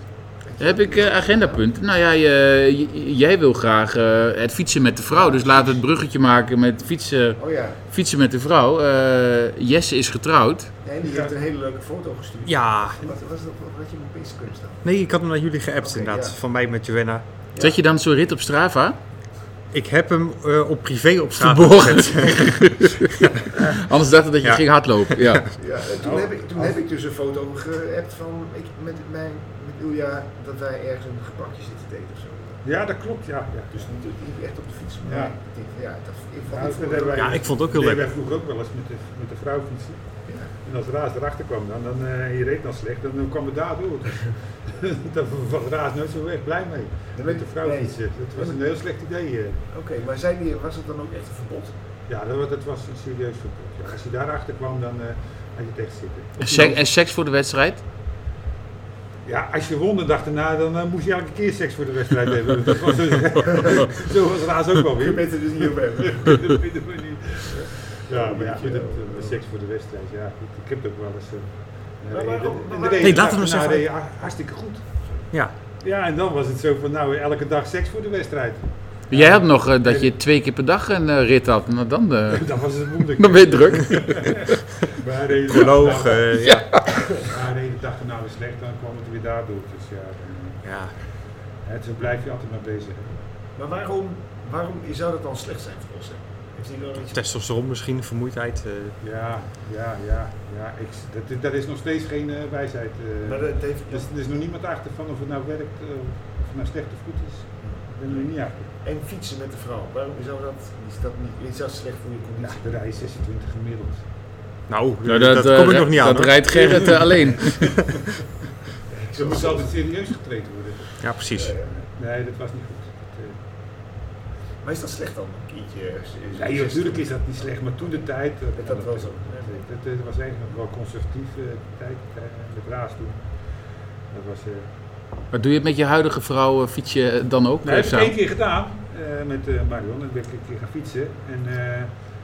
Heb ik eh, agendapunten? Nou ja, je- j- jij wil graag eh, het fietsen met de vrouw. Dus laten we het bruggetje maken met fietsen,
Oh ja,
fietsen met de vrouw. Eh, Jesse is getrouwd.
en die heeft een hele leuke foto gestuurd.
Ja.
Wat was dat? Wat had je op Instagram staan?
Nee, ik had hem naar jullie geappt
Oké,
inderdaad.
ja.
Van mij met Joanna.
Zet je dan zo'n rit op Strava?
Ik heb hem eh, op privé op straat
Verborgen.
gezet.
Anders dacht ik dat je
Ja.
ging hardlopen. Ja.
Ja, en toen,
Oh.
heb ik, toen heb ik dus een foto geappt van ik, met, mijn, met Ilja dat wij ergens een gebakje zitten te eten of zo.
Ja, dat klopt, ja. ja.
Dus niet, niet echt op de fiets, maar
Ja.
ik denk, ja, dat ik vond
Ja,
het
dat
voor-
hebben wij-
Ja, ik vond het ook heel
deden
leuk.
Wij vroeger ook wel eens met de, met de vrouw fietsen.
Ja.
En als Raas erachter kwam, dan, dan eh, en je reed dan slecht, dan, dan kwam het daardoor. dan was Raas nooit zo erg blij mee.
Dan
met
weet
de vrouw
nee.
fietsen, dat was een heel slecht idee. eh.
Oké, maar zijn die, was het dan ook echt een verbod?
Ja, dat, was- dat was een serieus verbod. Ja, als je daarachter kwam, dan eh had je het echt zitten.
En, seks, en seks voor de wedstrijd?
Ja, als je won de dag daarna, dan eh, moest je elke keer seks voor de wedstrijd hebben. Dat was dus, zo was het haast ook wel
Je
weer.
bent er dus niet op hebben.
Dat vinden we niet. ja, maar ik vind het eh, seks voor de wedstrijd. Ja, goed. Ik heb het ook wel eens. eh,
Maar
eh,
waarom-
dat-
maar
dat
waarom-
deed
Hey,
de dag
laten we eens
daarna
even-
deed je nou, ha- hartstikke goed.
Ja.
Ja, en dan was het zo van, nou, elke dag seks voor de wedstrijd.
Jij had nog eh, dat je twee keer per dag een eh, rit had. Nou, dan, eh,
Dan was het moeilijk.
dan ben je druk.
Maar de hele dag
Proloog,
daarna-
eh, ja.
Maar de hele dag daarna was slecht, dan kwam het weer daardoor. Dus ja, dan,
ja.
eh, het, zo blijf je altijd maar bezig.
Maar waarom, waarom zou dat dan slecht zijn voor ons? hè? Heeft hij wel iets...
Testosteron misschien, vermoeidheid. eh,
Ja, ja, ja. ja ik, dat, dat is nog steeds geen eh, wijsheid. eh.
Maar dat heeft,
Dus er is nog niemand achter van of het nou werkt, eh, of het nou slecht of goed is. Ik ben er nog niet achter.
En fietsen met de vrouw. Waarom zou dat, is dat niet is dat slecht voor je
Ja,
conditie?
de rij is 26 gemiddeld.
nou,
Nou,
dat,
eh,
kom ik
ri-
nog niet aan.
Dat
hoor.
rijdt Gerrit eh, alleen.
Ze moest altijd serieus getraind worden.
Ja, precies.
Nee, dat was niet goed. Dat, eh,
Maar is dat slecht dan? Een keertje. eh,
Nee, joh, natuurlijk is dat niet slecht, maar toen de tijd. eh,
Dat dat wel zo.
Dat, dat was eigenlijk nog wel conservatief eh, die tijd eh, met Raas toen. Dat was. eh
Maar doe je het met je huidige vrouw? eh, fiets je eh, dan ook?
nee,
eh,
heb ik
samen?
één keer gedaan eh, met eh, Marion. Ik ben ik een keer gaan fietsen. En eh,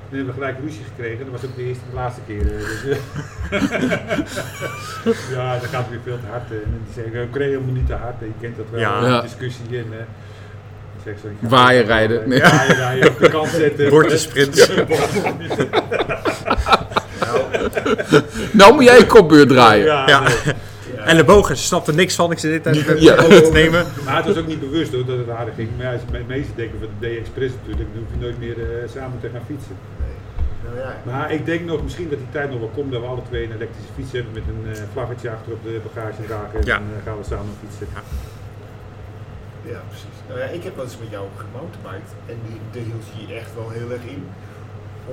toen hebben we gelijk ruzie gekregen. Dat was ook de eerste de laatste keer. eh, dus, eh, ja, dat gaat weer veel te hard. eh. en dan zeg ik, ik reed helemaal niet te hard. Je kent dat wel,
Ja.
eh,
Ja.
discussie. En, eh, ik zeg zo, ik ga- eh,
Waaien rijden. Nee.
Waaien rijden, op de kant zetten.
Bordjes sprinten.
Nou moet jij je kopbeurt draaien.
Ja,
Ja.
nee.
En de bogen, ze snapte niks van. Ik zit dit tijd
Ja.
te nemen.
Maar het was ook niet bewust hoor, dat het harder ging. Maar ja, als je me- meesten denken van de D-Express natuurlijk, dan hoef je nooit meer eh, samen te gaan fietsen.
Nou ja.
Maar ik denk nog misschien dat die tijd nog wel komt dat we alle twee een elektrische fiets hebben met een eh, vlaggetje achter op de bagage raken. En
Ja.
dan eh, gaan we samen fietsen.
Ja, precies. Nou ja, ik heb wel eens met jou gemountainbiked en die- daar hield je je echt wel heel erg in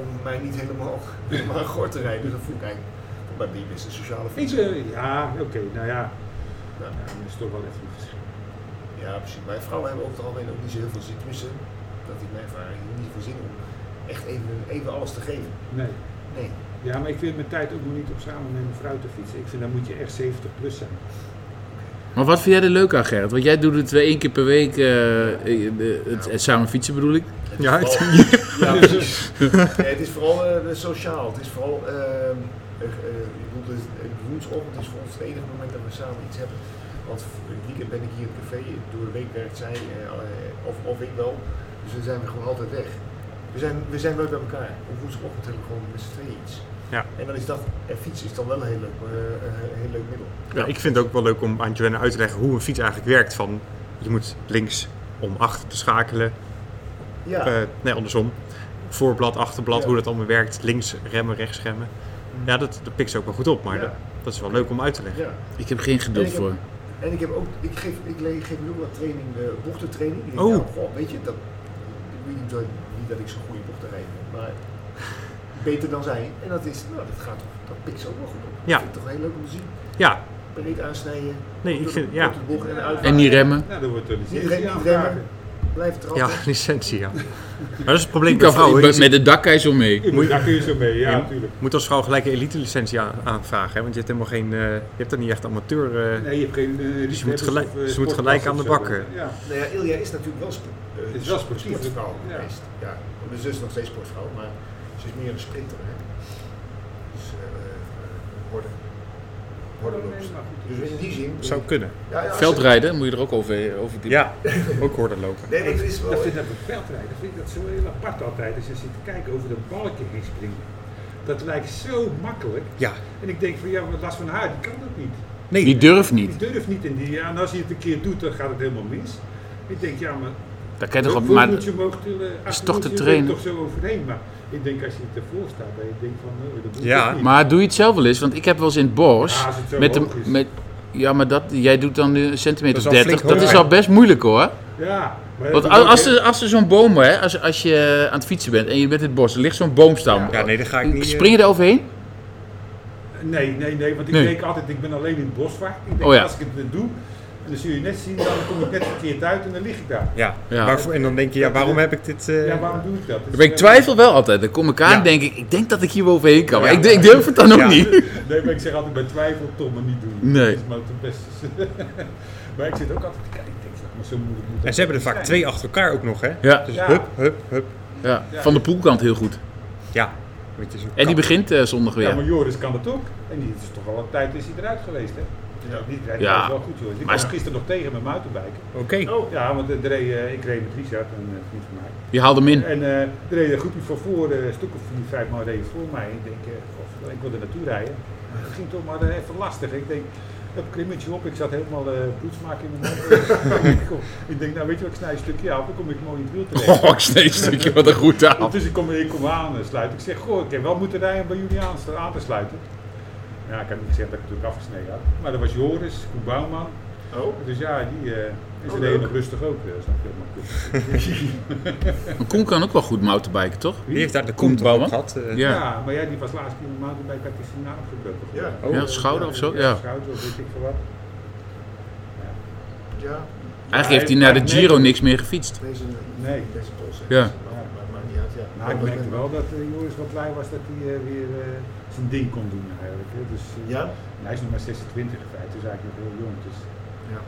om mij niet helemaal, helemaal gort te rijden. Dat voel ik eigenlijk, maar die is een sociale
Ik,
fiets.
eh, ja, oké, nou ja.
Nou,
Ja, dat is toch wel even een verschil.
ja, precies. Mijn vrouwen hebben over het algemeen ook niet zo heel veel zin, tenminste, dat is mijn ervaring, niet veel zin om echt even, even alles te geven.
Nee.
Nee.
Ja, maar ik vind mijn tijd ook nog niet op samen met mijn vrouw te fietsen. Ik vind dan moet je echt 70 plus zijn.
Maar wat vind jij er leuk aan, Gerrit? Want jij doet het eh, één keer per week. eh, eh, de- het, het samen fietsen bedoel ik.
Het
Ja,
is
het-
vooral, ja, precies. Nee, het is vooral eh, sociaal. Het is vooral. ehm, eh, eh, ik bedoel, het- het woensdagochtend is voor ons het enige moment dat we samen iets hebben. Want v- het weekend ben ik hier in het café, door de week werkt zij, eh, eh, of, of ik wel. Dus dan zijn we gewoon altijd weg. We zijn, we zijn nooit bij elkaar. Op woensdagochtend hebben we gewoon met z'n tweeën iets.
Ja.
En dan is dat, en fietsen is dan wel een heel leuk, eh, eh, heel leuk middel.
Ja, ik vind het ook wel leuk om aan Joanna uit te leggen hoe een fiets eigenlijk werkt. Van, je moet links om achter te schakelen.
Ja,
Eh, nee, andersom. Voorblad, achterblad,
Ja.
hoe dat allemaal werkt. Links remmen, rechts remmen. Ja, dat, dat pikt ze ook wel goed op. Maar
Ja.
dat, dat is wel leuk om uit te leggen.
ja.
Ik heb geen geduld
Ik heb-
voor.
En ik heb ook, ik geef, ik le- geef nu ook wat training, eh, bochtentraining. Ik denk,
Oh.
nou, goh, weet je, dat, ik weet niet, dat- niet dat ik zo'n goede bochten rijd, maar beter dan zij. En dat is, nou, dat gaat toch, dat pikt ze ook wel goed op.
Ja.
Dat vind ik toch heel leuk om te zien.
Ja,
Breed aansnijden,
nee, ik
door
vind,
de,
ja.
door de bocht en uit.
En niet remmen.
Nou, dan wordt er
Niet remmen, niet
aanvragen.
remmen. Blijf trappen.
Ja, licentie, ja. Maar dat is het probleem
Ik
bij
kan
vrouwen.
met,
Je
met de dakkijs om mee.
Je moet- Daar kun je zo mee, ja,
Ja.
natuurlijk.
moet als vrouw gelijk een elite licentie aan- aanvragen. Hè? Want je hebt helemaal geen, eh, je hebt dan niet echt amateur... eh,
Nee, je hebt geen. eh,
Dus je moet
risico's
gelijk-
of, eh,
ze moet
sportklassen
gelijk aan
of
de
zo.
bakker.
Ja.
Nou ja, Ilja is natuurlijk wel spo- eh,
Het is wel sportief.
sportvrouw
Ja.
geweest. Ja. Mijn zus is nog steeds sportvrouw, maar ze is meer een sprinter. Hè. Dus eh worden. Hordenloopster. Dus in die zin.
Zou kunnen.
Ja, ja, als je-
Veldrijden moet je er ook over, over die.
Ja, ook hoorden lopen.
Nee, maar het is wel.
Dat vind ik bij veldrijden vind ik dat zo heel apart altijd. Als je zit te kijken over de balken heen springen. Dat lijkt zo makkelijk.
Ja.
En ik denk van ja, maar Lars van Haar die kan dat niet.
Die durft niet.
Die durft niet in die. Ja, en als hij het een keer doet, dan gaat het helemaal mis. Ik denk ja, maar.
Daar kan je toch op.
hoeveel
Maar
moet je omhoog tillen? Acht
is toch
moet
te
je, ben je
trainen?
toch zo overheen. Maar ik denk als je het ervoor staat, dan denk je van nee, dat moet
Ja,
toch niet.
Maar doe je het zelf wel eens? Want ik heb wel eens in het bos.
Ja, als het zo
met de,
hoog is.
met, ja, maar dat, jij doet dan nu een centimeter
Dat is al
30.
flink
Dat is
hoog.
al best moeilijk hoor.
Ja, maar
Want
dat
als,
moet
als
ook,
er, als er zo'n boom, hè, als, als je aan het fietsen bent en je bent in het bos, er ligt zo'n boomstam.
Ja, nee, daar ga ik niet... eh,
Spring je er overheen?
Nee, nee, nee, want ik
Nee.
denk altijd, ik ben alleen in het bos vaak. Ik denk,
Oh ja.
als ik het eh, doe, En dan zul je net zien, dan kom ik net verkeerd uit en dan lig ik daar.
Ja.
Ja.
Waarvoor, en dan denk je, ja, waarom heb ik dit... eh,
Ja, waarom doe ik dat?
Maar ik twijfel wel altijd. Dan kom ik aan
Ja.
en denk ik, ik denk dat ik hier wel overheen kan. Maar
Ja.
ik, ik durf het dan ook
Ja.
niet.
Nee, maar ik zeg altijd bij twijfel toch maar niet doen.
Nee.
Dat is maar het beste. maar ik zit ook altijd te kijken, ik denk, zeg maar zo moeilijk moet dat
En ze hebben er
niet
vaak
zijn.
twee achter elkaar ook nog, hè?
Ja.
Dus
Ja.
hup, hup, hup.
Ja. Van de poelkant heel goed.
Ja. Weet je, zo'n
En die
kap.
begint eh, zondag
Ja,
weer.
maar Joris kan dat ook. En die is toch al wat tijd is hij eruit geweest, hè? Ja, die rijdt
Ja.
wel goed, Joris. Ik
Maar
was
is-
gisteren nog tegen met mijn mountainbiken.
Oké.
Ja, want eh, er reed, eh, ik reed met Richard, een eh, vriend van mij.
Je haalt hem in.
En eh, er reed een groepje van voor, eh, een stuk of vier, vijf man reden voor mij. Ik denk, eh, god, ik wilde er naartoe rijden. Maar Het ging toch maar eh, even lastig. Ik denk, dat krimmetje op, ik zat helemaal eh bloedsmaak in mijn mond. ik denk, nou weet je wat, ik snij een stukje af, dan kom ik mooi in het wiel terecht.
Oh, ik sneed een stukje wat een goed aan.
Dus ik kom, ik kom aan en sluit. Ik zeg, goh, ik heb wel moeten rijden om bij jullie aan, aan te sluiten. Ja, ik heb niet gezegd dat ik het natuurlijk afgesneden had. Maar dat was Joris, Koen Bouwman.
Oh,
Dus ja, die eh is
Oh,
er heel
leuk.
rustig ook. eh, snap je, maar goed.
Maar Koen kan ook wel goed mountainbiken, toch?
Die heeft daar de
Koen
kont op
Bouwman?
gehad. eh.
Ja.
Ja.
maar jij die was laatst in de mountainbike, had hij zijn naam gebroken.
Ja.
Oh.
Ja, schouder of zo?
Ja,
Ja.
schouder of weet ik veel wat. Ja.
ja.
Eigenlijk heeft hij naar de Giro niks meer gefietst.
Deze,
Nee.
deze pols.
Ja.
Maar, maar, maar niet uit, ja.
Nou, ik merkte wel dat eh, Joris wat blij was dat hij eh, weer eh, zijn ding kon doen eigenlijk. Hè. Dus, eh,
Ja?
en Hij is nog maar 26 in feite, dus eigenlijk nog heel jong. Dus,
Ja.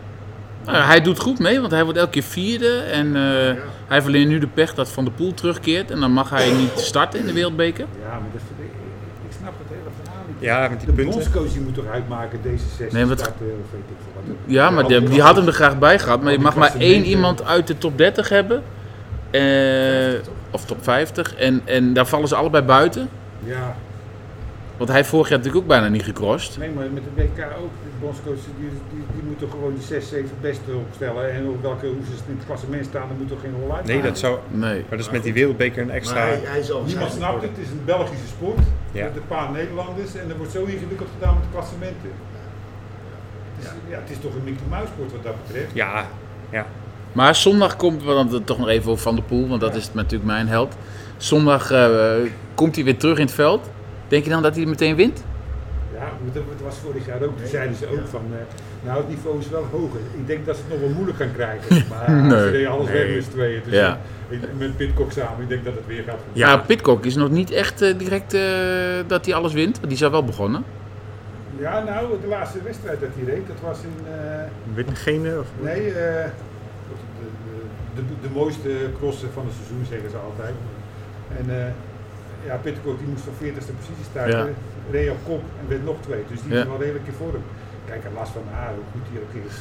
Nou, hij doet goed mee, want hij wordt elke keer vierde. En eh,
Ja.
hij heeft alleen nu de pech dat Van der Poel terugkeert. En dan mag hij niet starten in de Wereldbeker.
ja, maar dat, vind ik, ik snap het hele verhaal niet.
Ja, met die
de
punten.
bondscoach die moet toch uitmaken deze sessie
Nee, wat-
starten eh, of weet ik veel wat.
Ja, maar die, die had hem er graag bij gehad. Maar je mag maar één iemand uit de top 30 hebben. Eh, of top 50. En, en daar vallen ze allebei buiten.
Ja,
Want hij vorig jaar natuurlijk ook bijna niet gecrossed.
Nee, maar met de WK ook. De bondscoach die, die, die moet toch gewoon die 6, 7 beste opstellen. En op welke hoe ze in het klassement staan, dan moet toch geen rol uit.
Nee, dat zou...
Nee.
Maar dat is met die wereldbeker een extra...
Maar hij, hij zal
Niemand
waarschijnlijk
snapt het. Het is een Belgische sport.
Ja.
Met een paar Nederlanders. En er wordt zo ingewikkeld gedaan met de klassementen. Het is, ja. het is toch een Mickey Mouse sport wat dat betreft.
Ja, ja.
Maar zondag komt, want dan toch nog even over Van der Poel, want dat is natuurlijk mijn held. Zondag eh, komt hij weer terug in het veld. Denk je dan dat hij meteen wint?
Ja, maar dat dat was vorig jaar ook. Toen zeiden ze ook van, eh, nou het niveau is wel hoger. Ik denk dat ze het nog wel moeilijk gaan krijgen. Maar ze
Nee.
deden alles
Nee.
weg met z'n tweeën. Dus
Ja.
ik- met Pitcock samen, ik denk dat het weer gaat
Ja, Nou, Pitcock is nog niet echt eh, direct eh, dat hij alles wint. want Die zijn wel begonnen.
Ja, nou, de laatste wedstrijd dat hij reed, dat was in. eh,
Wittengene of...
nee, eh, de, de, de, de mooiste crossen van het seizoen, zeggen ze altijd. En eh, ja, Pitcock die moest van 40ste positie starten,
Ja.
reed op kop en werd nog twee. Dus die
Ja.
is wel redelijk in vorm. Kijk, en Lars van Haar, hoe goed die ook is.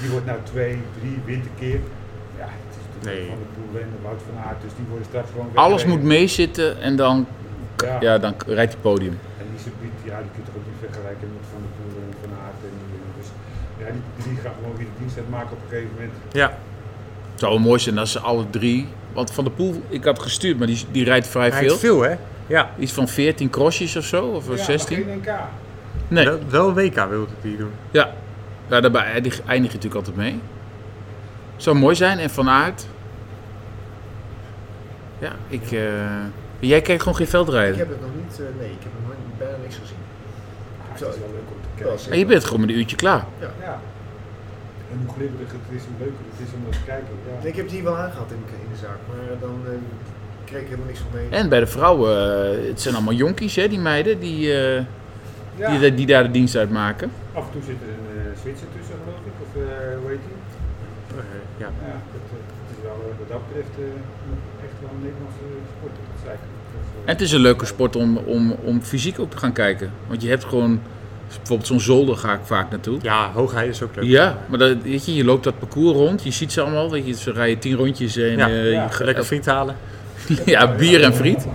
Die wordt nou twee, drie, wint een keer. Ja, het is natuurlijk
Nee.
van de Poel en de Wout van Aert, dus die worden straks gewoon
Alles moet
weggereden.
meezitten en dan,
Ja.
ja, dan rijdt hij podium.
En die subiet, ja, die kun je toch ook niet vergelijken met Van de Poel en Van Aert. En, die dingen. dus ja, die drie gaan gewoon weer de dienst uitmaken op een gegeven moment.
Ja.
Het zou wel mooi zijn als ze alle drie. Want Van der Poel, ik had gestuurd, maar die, die rijdt vrij
Hij
veel.
heeft veel, hè? Ja.
Iets van 14 crossjes of zo, of
ja,
16.
Maar geen NK.
Nee,
Wel, wel een WK wilde die doen.
ja. ja daarbij eindig eindig je natuurlijk altijd mee. Zou mooi zijn en van aard. Ja, ik. eh, Jij kijkt gewoon geen
Ik
veldrijden.
heb het nog niet, eh, nee, ik heb nog nooit- bijna niks gezien.
Ah, het is wel leuk om te kijken.
En je bent gewoon met een uurtje klaar.
Ja. En hoe glibberig het is, hoe leuker het is om naar te kijken. Ja.
Ik heb die wel aangehad in, in de zaak, maar dan eh, kreeg ik helemaal niks van mee.
En bij de vrouwen, eh, het zijn allemaal jonkies, hè, die meiden, die, eh,
Ja,
die, die daar de dienst uit maken.
Af en toe zit er een eh, Zwitser tussen, geloof ik. Of eh hoe heet die?
ja.
Ja, dat, eh, het is wel eh, wat dat betreft eh, echt wel een Nederlandse sport. Dat is eigenlijk. dat is, eh,
En het is een leuke sport om, om, om fysiek ook te gaan kijken. Want je hebt gewoon, bijvoorbeeld zo'n zolder ga ik vaak naartoe.
Ja, hoogheid is ook leuk.
Ja, maar dat, weet je, je loopt dat parcours rond, je ziet ze allemaal, weet je, ze rijden tien rondjes en
Ja,
eh,
ja.
je gaat-
Lekker friet halen.
ja, bier en friet.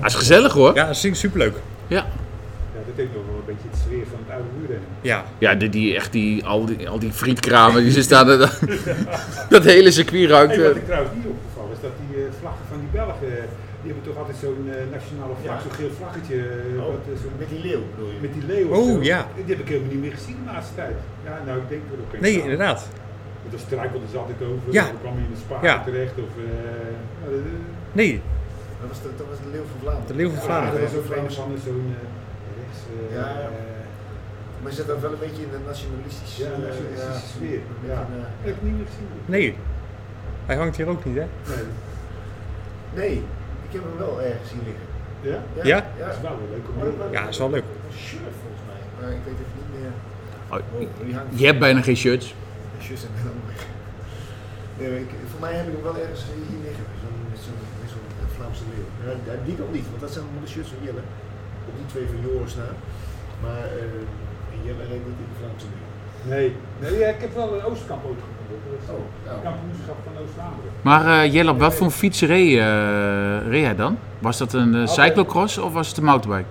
Dat is gezellig hoor. Ja,
Ja, dat is superleuk.
ja, dat heeft nog wel een beetje de sfeer van het oude wielrennen.
Ja.
die, die, echt die, al, die, al die frietkramen die ze staan, dat, dat hele circuit ruikt.
Hey,
eh,
wat ik trouwens niet opgevallen is dat die eh, vlaggen van die Belgen, eh, die hebben toch altijd zo'n eh, nationale vlag,
Ja.
zo'n geel vlaggetje eh,
Oh.
wat, eh, zo'n-
Met die leeuw bedoel je?
met die leeuw.
Oh,
zo.
ja.
Die heb ik helemaal niet meer gezien de laatste tijd. Ja, nou, ik denk dat ook.
Nee, inderdaad.
Want daar struikelden ze altijd over,
Ja.
of dan kwam je in de spaar
Ja.
terecht. Of, eh, nou, dat-
Nee,
Dat was de, dat was de leeuw van Vlaanderen.
eh,
de Leeuw van
ja, dat
Vlaanderen.
was ook een van de zo'n eh, rechts. eh,
Ja, ja.
eh,
Maar zit dat wel een beetje in de nationalistische
Ja,
eh,
nationalistische sfeer,
een beetje
ja.
een, eh,
Heb ik niet meer gezien.
Nee, hij hangt hier ook niet, hè?
Nee.
nee, ik heb hem wel ergens hier liggen.
Ja?
Ja?
Dat is wel een leuke manier.
Ja, is wel leuk.
Een shirt volgens mij. Maar ik weet even niet meer. Oh, die hangt.
Je hebt bijna geen shirts.
De shirts zijn wel mooi. Nee, maar ik, voor mij heb ik hem wel ergens hier liggen. Zo'n- Met zo'n met zo'n eh, Vlaamse leeuw. Ja, dat- die nog niet, want dat zijn allemaal de shirts van Jelle. Op die twee van Joris na. Maar eh, Jelle reed niet in de Vlaamse leeuw.
Nee. Nee, ja, ik heb wel een Oostkamp ooit gevonden. Dat is
Oh, nou.
het kampioenschap van Oost-Vlaanderen.
Maar eh Jelle, op wat voor fiets reed, eh, reed hij dan? Was dat een eh, cyclocross of was het een mountainbike?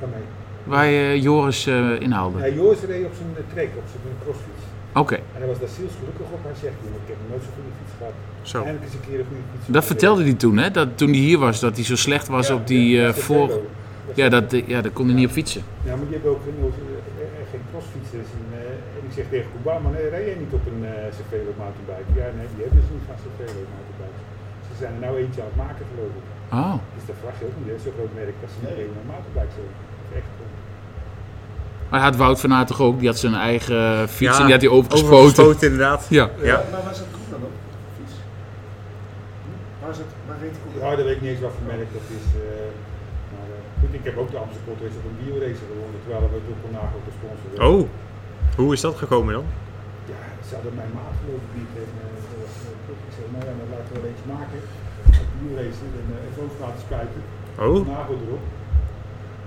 Van mij.
Waar je Joris eh, inhaalde?
Nee, Joris reed op zijn eh, trek, op zijn crossfiets.
Oké,
En hij was daar ziels gelukkig op. Hij zegt, "Jongen, ik heb nog nooit zo'n goede fiets gehad.
Zo.
Eindelijk eens een keer een goede fiets.
dat vertelde hij toen, hè? Dat toen hij hier was, dat hij zo slecht was op die eh, voor... Ja, dat, eh, ja, daar kon hij niet op fietsen.
Ja, maar die hebben ook een, eh, eh, geen crossfietsers. En, eh, en ik zeg tegen Obama, nee, rij jij niet op een eh Cervelo mountainbike? Ja, nee, die hebben ze niet van Cervelo mountainbike. Ze zijn er nou eentje aan het maken, geloof ik.
Oh,
Dus dat vraag je ook niet, hè. Zo'n groot merk als ze
Nee.
niet een mountainbike zo. Dat is Echt, eh,
maar had Wout van Aert toch ook? Die had zijn eigen eh, fiets
Ja,
en die had hij overgespoten.
Overgespoten, inderdaad.
Ja.
Ja.
maar waar zat Koen dan op? Fiets. Hm? Waar zat, waar reed Koen dan
ja, dat weet ik niet eens wat voor merk dat is. eh, maar eh, goed, ik heb ook de Amsterdam Gold Race op een bioracer gewonnen, terwijl we door Conago de sponsor werden.
Oh, hoe is dat gekomen dan?
Ja, ze hadden mijn maat geloof ik niet. En, eh, dat was, eh, goed. ik zei, nou ja, dan laten we wel eentje maken. Op de bioracer en eh even over laten spuiten.
Oh,
nagel erop.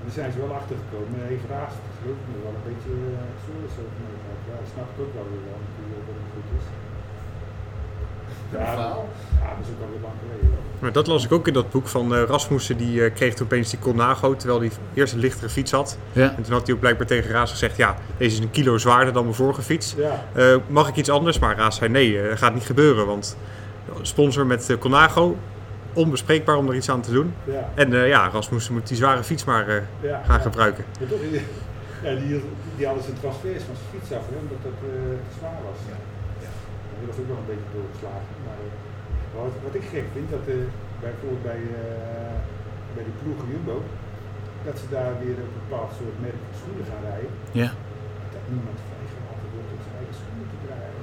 En Daar zijn ze wel achter gekomen. En even raast. Dat is ook nog wel een beetje eh zorg zo van mij. Ja, dat snap ik ook wel weer wel. Natuurlijk dat het goed is. Ja, ja, dat is ook al weer lang geleden. hoor.
maar dat las ik ook in dat boek van eh, Rasmussen. Die eh, kreeg toen opeens die Colnago, terwijl hij eerst een lichtere fiets had.
Ja.
En toen had hij ook blijkbaar tegen Raas gezegd, ja, deze is een kilo zwaarder dan mijn vorige fiets.
Ja,
Eh, mag ik iets anders? Maar Raas zei nee, eh, gaat niet gebeuren. Want sponsor met eh, Colnago, onbespreekbaar om er iets aan te doen.
ja,
En eh, ja, Rasmussen moet die zware fiets maar eh,
ja.
gaan gebruiken.
Maar toch, ja, die, hield- die hadden zijn transfers van zijn fiets af, hè, omdat dat eh, te zwaar was. Ja. Die was ook wel een beetje doorgeslagen. Maar, eh, wat, wat ik gek vind, dat eh, bijvoorbeeld bij, eh, bij de ploeg Jumbo, dat ze daar weer een bepaald soort merk van schoenen gaan rijden.
Ja.
Dat niemand vrijgelaten wordt om zijn eigen schoenen te draaien.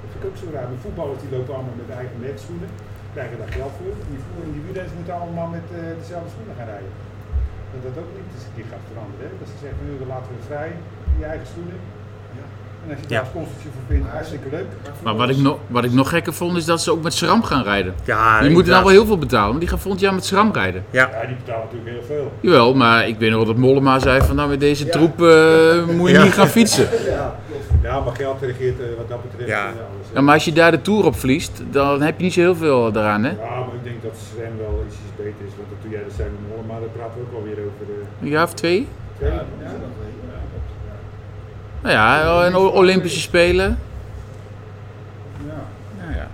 Dat vind ik ook zo raar. De voetballers die lopen allemaal met eigen merkschoenen, krijgen daar geld voor. En die voetballers en die wielrenners moeten allemaal met eh, dezelfde schoenen gaan rijden dat dat ook niet eens een keer gaat veranderen. Hè? Dat ze zeggen, nu we laten we vrij, je eigen stoelen. En als je daar
Ja.
sponsortje voor vindt, hartstikke leuk.
Maar wat ik, nog wat ik nog gekker vond, is dat ze ook met SRAM gaan rijden.
Ja,
Die moeten
inderdaad.
nou wel heel veel betalen, maar die gaan volgend jaar met SRAM rijden.
Ja,
Ja, die betalen natuurlijk heel veel.
Jawel, maar ik weet nog wel dat Mollema zei van nou met deze troep eh, moet je
Ja.
niet gaan fietsen.
Ja, maar geld regeert eh, wat dat betreft
Ja.
eh, alles. hè.
Ja, maar als je daar de Tour op verliest, dan heb je niet zo heel veel daaraan hè.
Ja, maar ik denk dat Sven wel ietsjes beter is, want dat doe jij dat zijn we morgen, maar daar praten we ook alweer over. eh,
Een jaar of twee?
twee,
Ja,
ja.
dat nog wel. Ja.
Nou ja, en O- Olympische Spelen.
Ja.
Nou ja.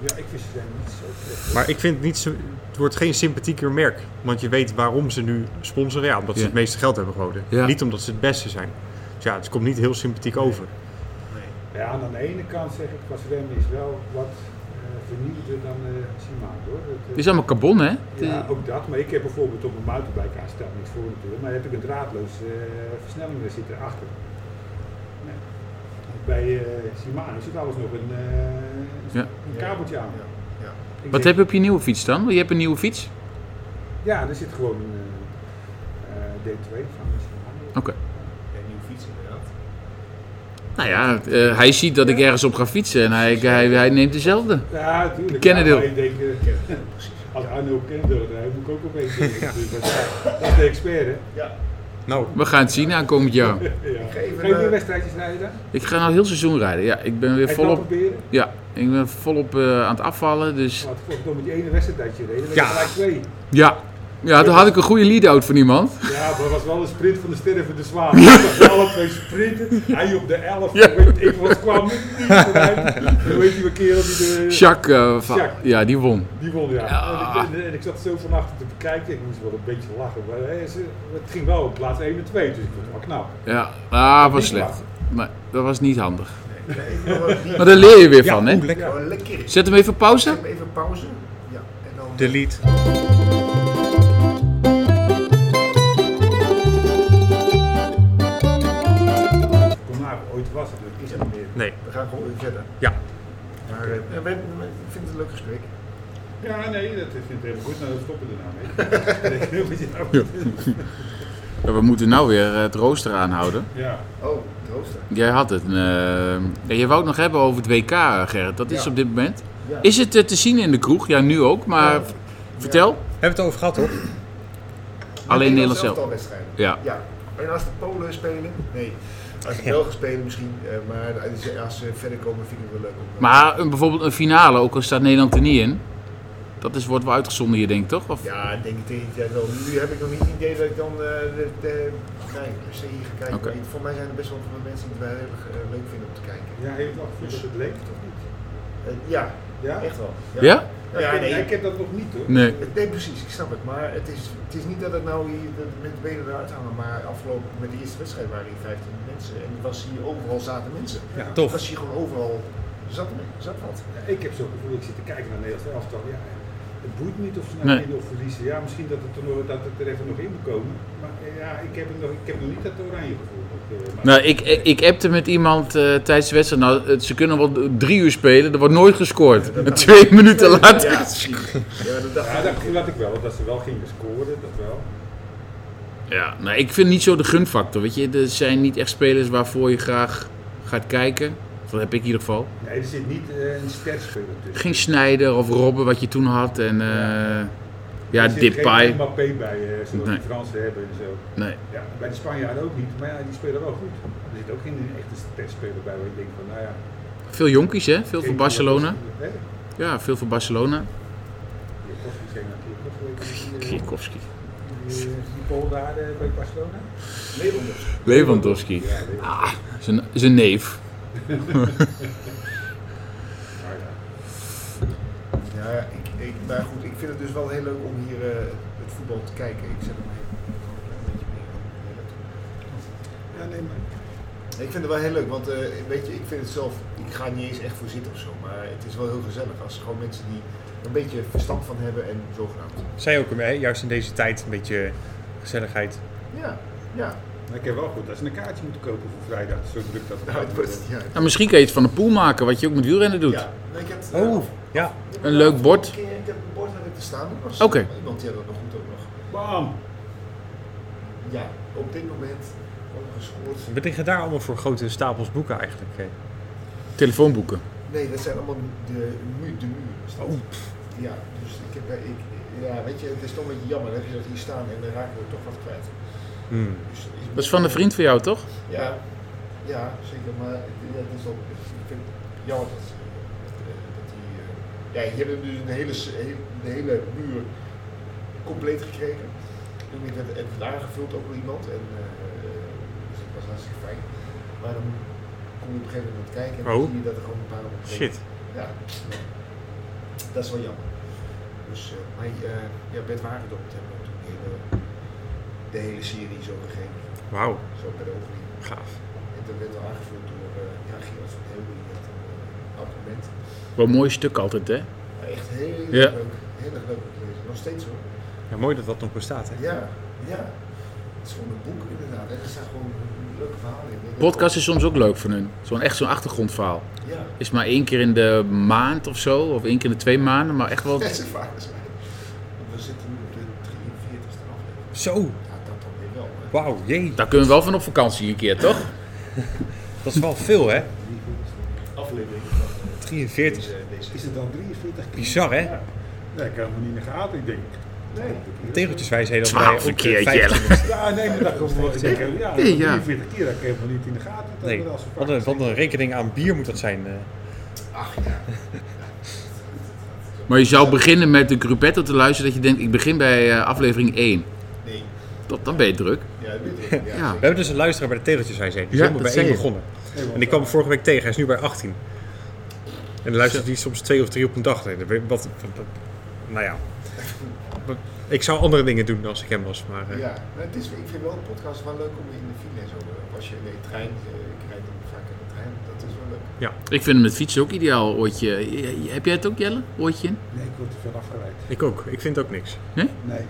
Ja, ik vind Sven niet zo slecht.
maar ik vind het niet zo... Het wordt geen sympathieker merk. Want je weet waarom ze nu sponsoren. Ja, omdat ze
Ja.
het meeste geld hebben gewonnen.
Ja.
Niet omdat ze het beste zijn. Dus ja, het komt niet heel sympathiek over.
Ja, aan de ene kant zeg ik, van Sven is wel wat eh vernieuwder dan eh Shimano hoor. Het, eh,
Het is eh, allemaal carbon hè. Het is-
Ja, ook dat. Maar ik heb bijvoorbeeld op mijn mountainbike aan, staat niks voor natuurlijk, maar heb ik een draadloos eh, versnelling er zitten achter. Nee. Bij eh, Shimano zit alles nog een, eh,
Ja.
een kabeltje aan.
Ja. Ja.
Ik
Wat
denk-
heb je op je nieuwe fiets dan? Je hebt een nieuwe fiets?
Ja, er zit gewoon een eh, eh, D2 van Shimano.
Oké.
Ja, een nieuwe fiets inderdaad.
Nou ja, eh, hij ziet dat ik ergens op ga fietsen en hij, hij, hij neemt dezelfde.
Ja, natuurlijk.
Kennedeel.
Ja, maar ik denk, eh, als Arno Kennedeel rijdt, moet ik ook opeens denken. natuurlijk, want ja, Dus Dat is de expert, hè?
Ja,
Nou,
We gaan het zien aankomend jaar.
Ja.
ga even,
Ga je
eh,
weer wedstrijdjes rijden dan?
Ik ga nou heel seizoen rijden. Ja, ik ben weer
Ga je dat
volop,
proberen?
ja, ik ben volop eh, aan het afvallen. Dus
Want voor met die ene wedstrijd dat je reed, dan ben je
Ja.
gelijk twee.
ja. Ja, toen had ik een goede lead-out van iemand.
Ja, maar het was wel een sprint van de sterren voor de zwaar. Ja. Alle twee sprinten. Hij op de 11.
Ja.
Ik, ik was, kwam niet vooruit. Dan weet je een kerel die de.
Jacques, eh, van-
Jacques.
ja, die won.
Die won, ja.
Ja.
En, ik, en- en ik zat zo van achter te bekijken. Ik moest wel een beetje lachen. Maar hè, ze- het ging wel op plaats 1 en 2. Dus ik vond het wel knap.
Ja, ah, was
Niet
slecht. Nee, dat was niet handig.
ja, even nog wel die-
Maar daar leer je weer van,
ja,
hè?
oeh, lekker.
Nou, lekker.
Zet hem even op pauze.
Zet hem even pauze. Ja, en dan...
Delete.
verder.
Ja.
Maar eh, we- we- we- ik vind het een leuk gesprek.
Ja, nee, dat vind ik helemaal goed. Nou, dan stoppen we daarna mee. Ik denk dat je daar moet-
Ja, We moeten nou weer eh, het rooster aanhouden.
Ja,
Oh, troosten.
Jij had het. eh, ja, je wou het nog hebben over het WK, Gerrit. Dat is
Ja.
op dit moment.
Ja.
Is het eh, te zien in de kroeg? Ja, nu ook. Maar
Ja.
v- vertel.
Hebben we het over gehad, toch?
Alleen Nederland zelf.
wedstrijden.
Ja.
Ja. En als de Polen spelen? Nee. Als de Belgen spelen misschien. eh, Maar als ze verder komen vind ik het wel leuk. om- eh.
Maar een, bijvoorbeeld een finale, ook al staat Nederland er niet in. Dat is, wordt wel uitgezonden hier, denk ik, toch? Of?
Ja, ik denk ik tegen ja, wel. Nu heb ik nog niet het idee dat ik dan eh de, de, nee, per se hier ga kijken.
Oké.
Maar Voor mij zijn er best wel veel mensen die het wel heel erg eh, leuk vinden om te kijken.
ja heeft nog gevoeld dat het leeft of niet?
Eh, ja,
Ja?
echt wel.
Ja?
Ja,
ik, heb,
nee.
ik heb dat nog niet hoor.
Nee.
Nee, precies, ik snap het. Maar het is, het is niet dat het nou hier de, met de benen eruit hangen. Maar afgelopen met de eerste wedstrijd waren hier 15 mensen. En was hier overal zaten mensen.
Ja.
Tof.
Was hier gewoon overal zat, zat wat.
Ik heb zo'n gevoel, ik zit te kijken naar Nederlands elftal. Ja, het boeit niet of ze nou
Nee.
winnen of verliezen. Ja, misschien dat het, er nog, dat het er even nog in moet komen. Maar eh, ja, ik heb, het nog, ik heb nog niet dat oranje gevoel. Dat, eh, maar-
Nou, ik, ik ik appte met iemand eh, tijdens de wedstrijd. Nou, het- ze kunnen wel drie uur spelen, er wordt nooit gescoord. En twee minuten later.
Ja, precies. Ja, dat dacht
Ja,
ik.
dat gevoel had ik wel. Dat ze wel gingen scoren, dat wel.
Ja, nou, ik vind niet zo de gunfactor. Weet je, er zijn niet echt spelers waarvoor je graag gaat kijken. Dat heb ik in ieder geval.
Nee, er zit niet eh, een sterspeler tussen.
Geen Snijder of Robben, wat je toen had. En eh ja,
er zit geen
Depay.
Mbappé bij, eh zoals
Nee.
de Fransen hebben en zo.
Nee.
Ja, bij de Spanjaarden ook niet, maar ja, die spelen wel goed. Er zit ook geen echte sterspeler bij waar je denkt van, nou ja...
Veel jonkies, hè? Veel voor
geen-
Barcelona.
Hè?
Ja, veel voor Barcelona.
Kwiatkowski zijn een keer toch, weet je, die, eh,
Kierkowski.
die, eh, die Pool daar eh, bij Barcelona.
Nederlanders.
Lewandowski.
Ja, weet je.
Zijn, zijn neef.
Maar eh, ja.
Ja, ik, ik, maar goed, ik vind het dus wel heel leuk om hier eh, het voetbal te kijken. Ik zet hem even een beetje meer. op.
Ja, nee, maar...
Ik vind het wel heel leuk, want eh, weet je, ik vind het zelf, ik ga er niet eens echt voor zitten of zo, maar het is wel heel gezellig als er gewoon mensen die er een beetje verstand van hebben en zogenaamd.
Zij ook, hè, juist in deze tijd, een beetje gezelligheid.
Ja, ja,
Maar ik heb wel goed dat ze een kaartje moeten kopen voor vrijdag. Zo druk dat
nou, het wordt, ja.
Nou, misschien kan je het van de pool maken, wat je ook met wielrennen doet.
ja. Nee, ik heb, eh,
Oh, ja.
ik heb
Een leuk
een
bord.
keer- Ik heb een bord heb ik te staan, er was
Oké.
iemand die had dat nog goed ook nog.
Bam!
Ja, op dit moment ongescoord.
We liggen daar allemaal voor grote stapels boeken eigenlijk. hè.
Telefoonboeken.
Nee, dat zijn allemaal de, de, mu- de muren. is dat.
Oh.
Ja, dus ik heb, eh, ik, ja, weet je, het is toch een beetje jammer, dan heb je dat hier staan en dan raken we toch wat kwijt.
Hmm.
Dus,
Dat is van een vriend van jou, toch?
Ja, ja zeker. Maar het- ja, het is wel, ik vind het jammer dat, eh, dat die... eh, ja, je hebt dus een hele, s- heel- een hele muur compleet gekregen. En ik werd het werd aangevuld ook door iemand. En, eh, dus dat was hartstikke fijn. Maar dan kom je op een gegeven moment aan het kijken en dan
Oh.
zie je dat er gewoon een paar honderd
Shit.
Ja, dat is wel jammer. Dus, eh, maar eh, ja, Bert Wagendorp hebben we toen de hele, de hele serie zo gegeven.
Wauw,
Zo bij de opening.
gaaf.
En dat werd al aangevuld door eh ja, Gerard van Heelden, die had een eh, abonnement.
Wel een mooi stuk altijd, hè?
Maar echt heel erg
Ja.
leuk, heel erg leuk om te lezen. Nog steeds hoor.
Ja, mooi dat dat nog bestaat. Hè?
Ja, ja. Het is gewoon een boek inderdaad. En er staan gewoon leuke verhalen in. Ik denk
Podcast is soms ook leuk van hun. Zo'n echt zo'n achtergrondverhaal.
dat- Ja,
Is maar één keer in de maand of zo, of één keer in de twee maanden, maar echt wel.
dat is een vaak zijn. Want we zitten nu op de 43ste aflevering.
Zo,
Ja, dat dan weer wel. hè.
wauw, jee.
Daar kunnen we wel van op vakantie een keer, toch?
Dat is wel veel, hè?
Aflevering van eh,
43.
deze, deze.
Is het dan 43 keer?
Bizar, hè?
Ja. Nee, ik had hem niet in de gaten, ik denk.
Nee.
Tegeltjeswijsheden. dat wij
Twaalf
ook, eh,
keer,
15
Jelle.
minuten-
Ja, nee, maar dat gewoon wel. Ik denk, ja,
Nee, ja.
43 keer, dat ik helemaal niet in de gaten. Dat
Nee,
we dat als we
wat een, wat
pakken.
een rekening aan bier moet dat zijn. eh.
Ach ja.
Maar je zou beginnen met de gruppetto te luisteren, dat je denkt, ik begin bij eh, aflevering 1.
Nee.
Dat, dan ben je druk.
Ja, dat weet ik. Ja,
Ja.
We
zeker.
hebben dus een luisteraar bij de tegeltjeswijsheden. Die
Ja,
is helemaal
dat
bij één
zei je.
begonnen.
Nee, want
En ik kwam hem vorige week tegen, hij is nu bij 18. En dan luistert hij soms twee of drie op een dag. Nee, dat weet- Wat, wat- wat- nou ja. Ik zou andere dingen doen als ik hem was. Maar, eh,
Ja, maar het is, ik vind wel een podcast wel leuk om in de file en zo. eh, Als je in de trein, eh, ik rijd dan vaak in de trein, dat is wel leuk.
Ik vind hem met fietsen ook ideaal, oortje. Eh, Heb jij het ook, Jelle? Oortje in?
Nee, ik word er veel afgeleid.
Ik ook. Ik vind ook niks.
Nee,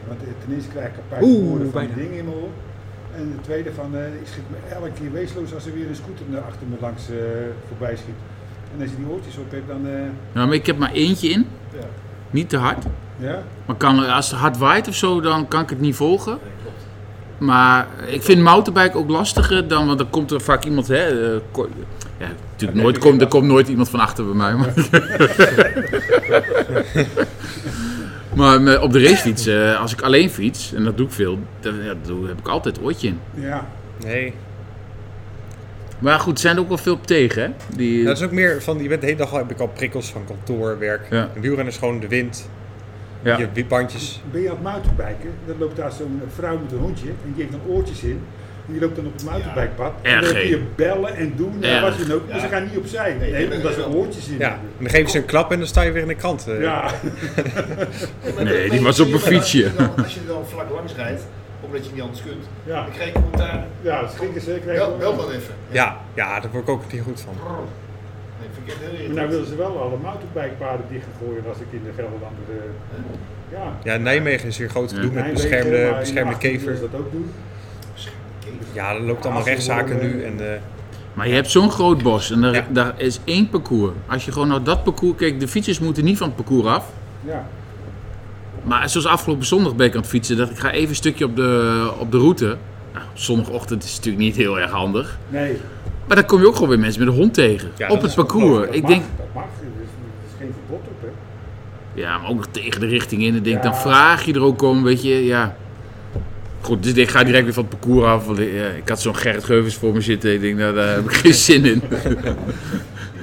want eh, ten eerste krijg ik een paar
Oeh,
woorden van die
bijna.
dingen in mijn oor. En de tweede van, eh, ik schrik me elke keer weesloos als er weer een scooter naar achter me langs eh, voorbij schiet. En als je die oortjes op hebt, dan... eh,
Ja, maar ik heb maar eentje in,
ja.
niet te hard.
ja?
Maar kan, er- als het hard waait of zo, dan kan ik het niet volgen. Maar ik vind mountainbike ook lastiger dan, want dan komt er vaak iemand, hè, eh, ko- ja, natuurlijk nooit, komt er komt nooit iemand van achter bij mij. Maar, maar met- op de racefiets, eh, als ik alleen fiets, en dat doe ik veel, dan, ja, dan heb ik altijd oortje in.
Ja.
Nee.
Maar goed, er zijn er ook wel veel op tegen, hè? Die,
dat is ook meer van, je bent de hele dag al, heb ik al prikkels van kantoorwerk.
Ja.
En wielrennen is gewoon de wind,
ja.
je wiepbandjes.
Ben je aan het mountainbiken, dan loopt daar zo'n vrouw met een hondje en die heeft dan oortjes in. En die loopt dan op het mountainbikepad. En dan
Erg,
kun
hè?
je bellen en doen en
Erg.
wat dan ook. Maar
Ja.
ze gaan niet opzij.
Nee,
Nee,
dat
omdat
is
ze
wel-
oortjes in
Ja,
hebben.
en dan geven ze een klap en dan sta je weer in de krant. eh.
Ja.
Nee, die was op een fietsje.
Als je er dan vlak langs rijdt, omdat je niet anders kunt,
Ja.
dan krijg je commentaar.
Ja, dat schrikken ze. Krijgen
Wel, wel dan even.
ja, ja, daar word ik ook niet goed van.
Nee, vind ik echt heel
Maar nou
irritant.
willen ze wel alle mountainbikepaden dicht gaan gooien als ik in de Gelderland. eh, ja.
Ja, Nijmegen is hier groot gedoe met
Nijmegen, maar
beschermde,
in
beschermde
18e willen
kever.
ze dat ook doen.
Ja, er loopt allemaal
Ja, als ze
rechtszaken
worden-
nu. En, eh,
Maar je hebt zo'n groot bos en daar,
Ja.
daar is één parcours. Als je gewoon naar dat parcours kijkt, de fietsers moeten niet van het parcours af.
Ja.
Maar zoals afgelopen zondag ben ik aan het fietsen, dat ik ga even een stukje op de, op de route. Nou, zondagochtend is het natuurlijk niet heel erg handig.
Nee.
Maar dan kom je ook gewoon weer mensen met een hond tegen.
Ja,
op
dat
het
is
parcours.
Dat
Ik
mag,
denk,
Dat mag. Er is, er is geen verbod op, hè.
ja, maar ook nog tegen de richting in. Ik denk,
Ja.
dan vraag je er ook om, weet je, ja. Goed, dus ik ga direct weer van het parcours af. want, eh, ja, ik had zo'n Gerrit Geuvens voor me zitten. Ik denk, nou, daar heb ik geen zin in.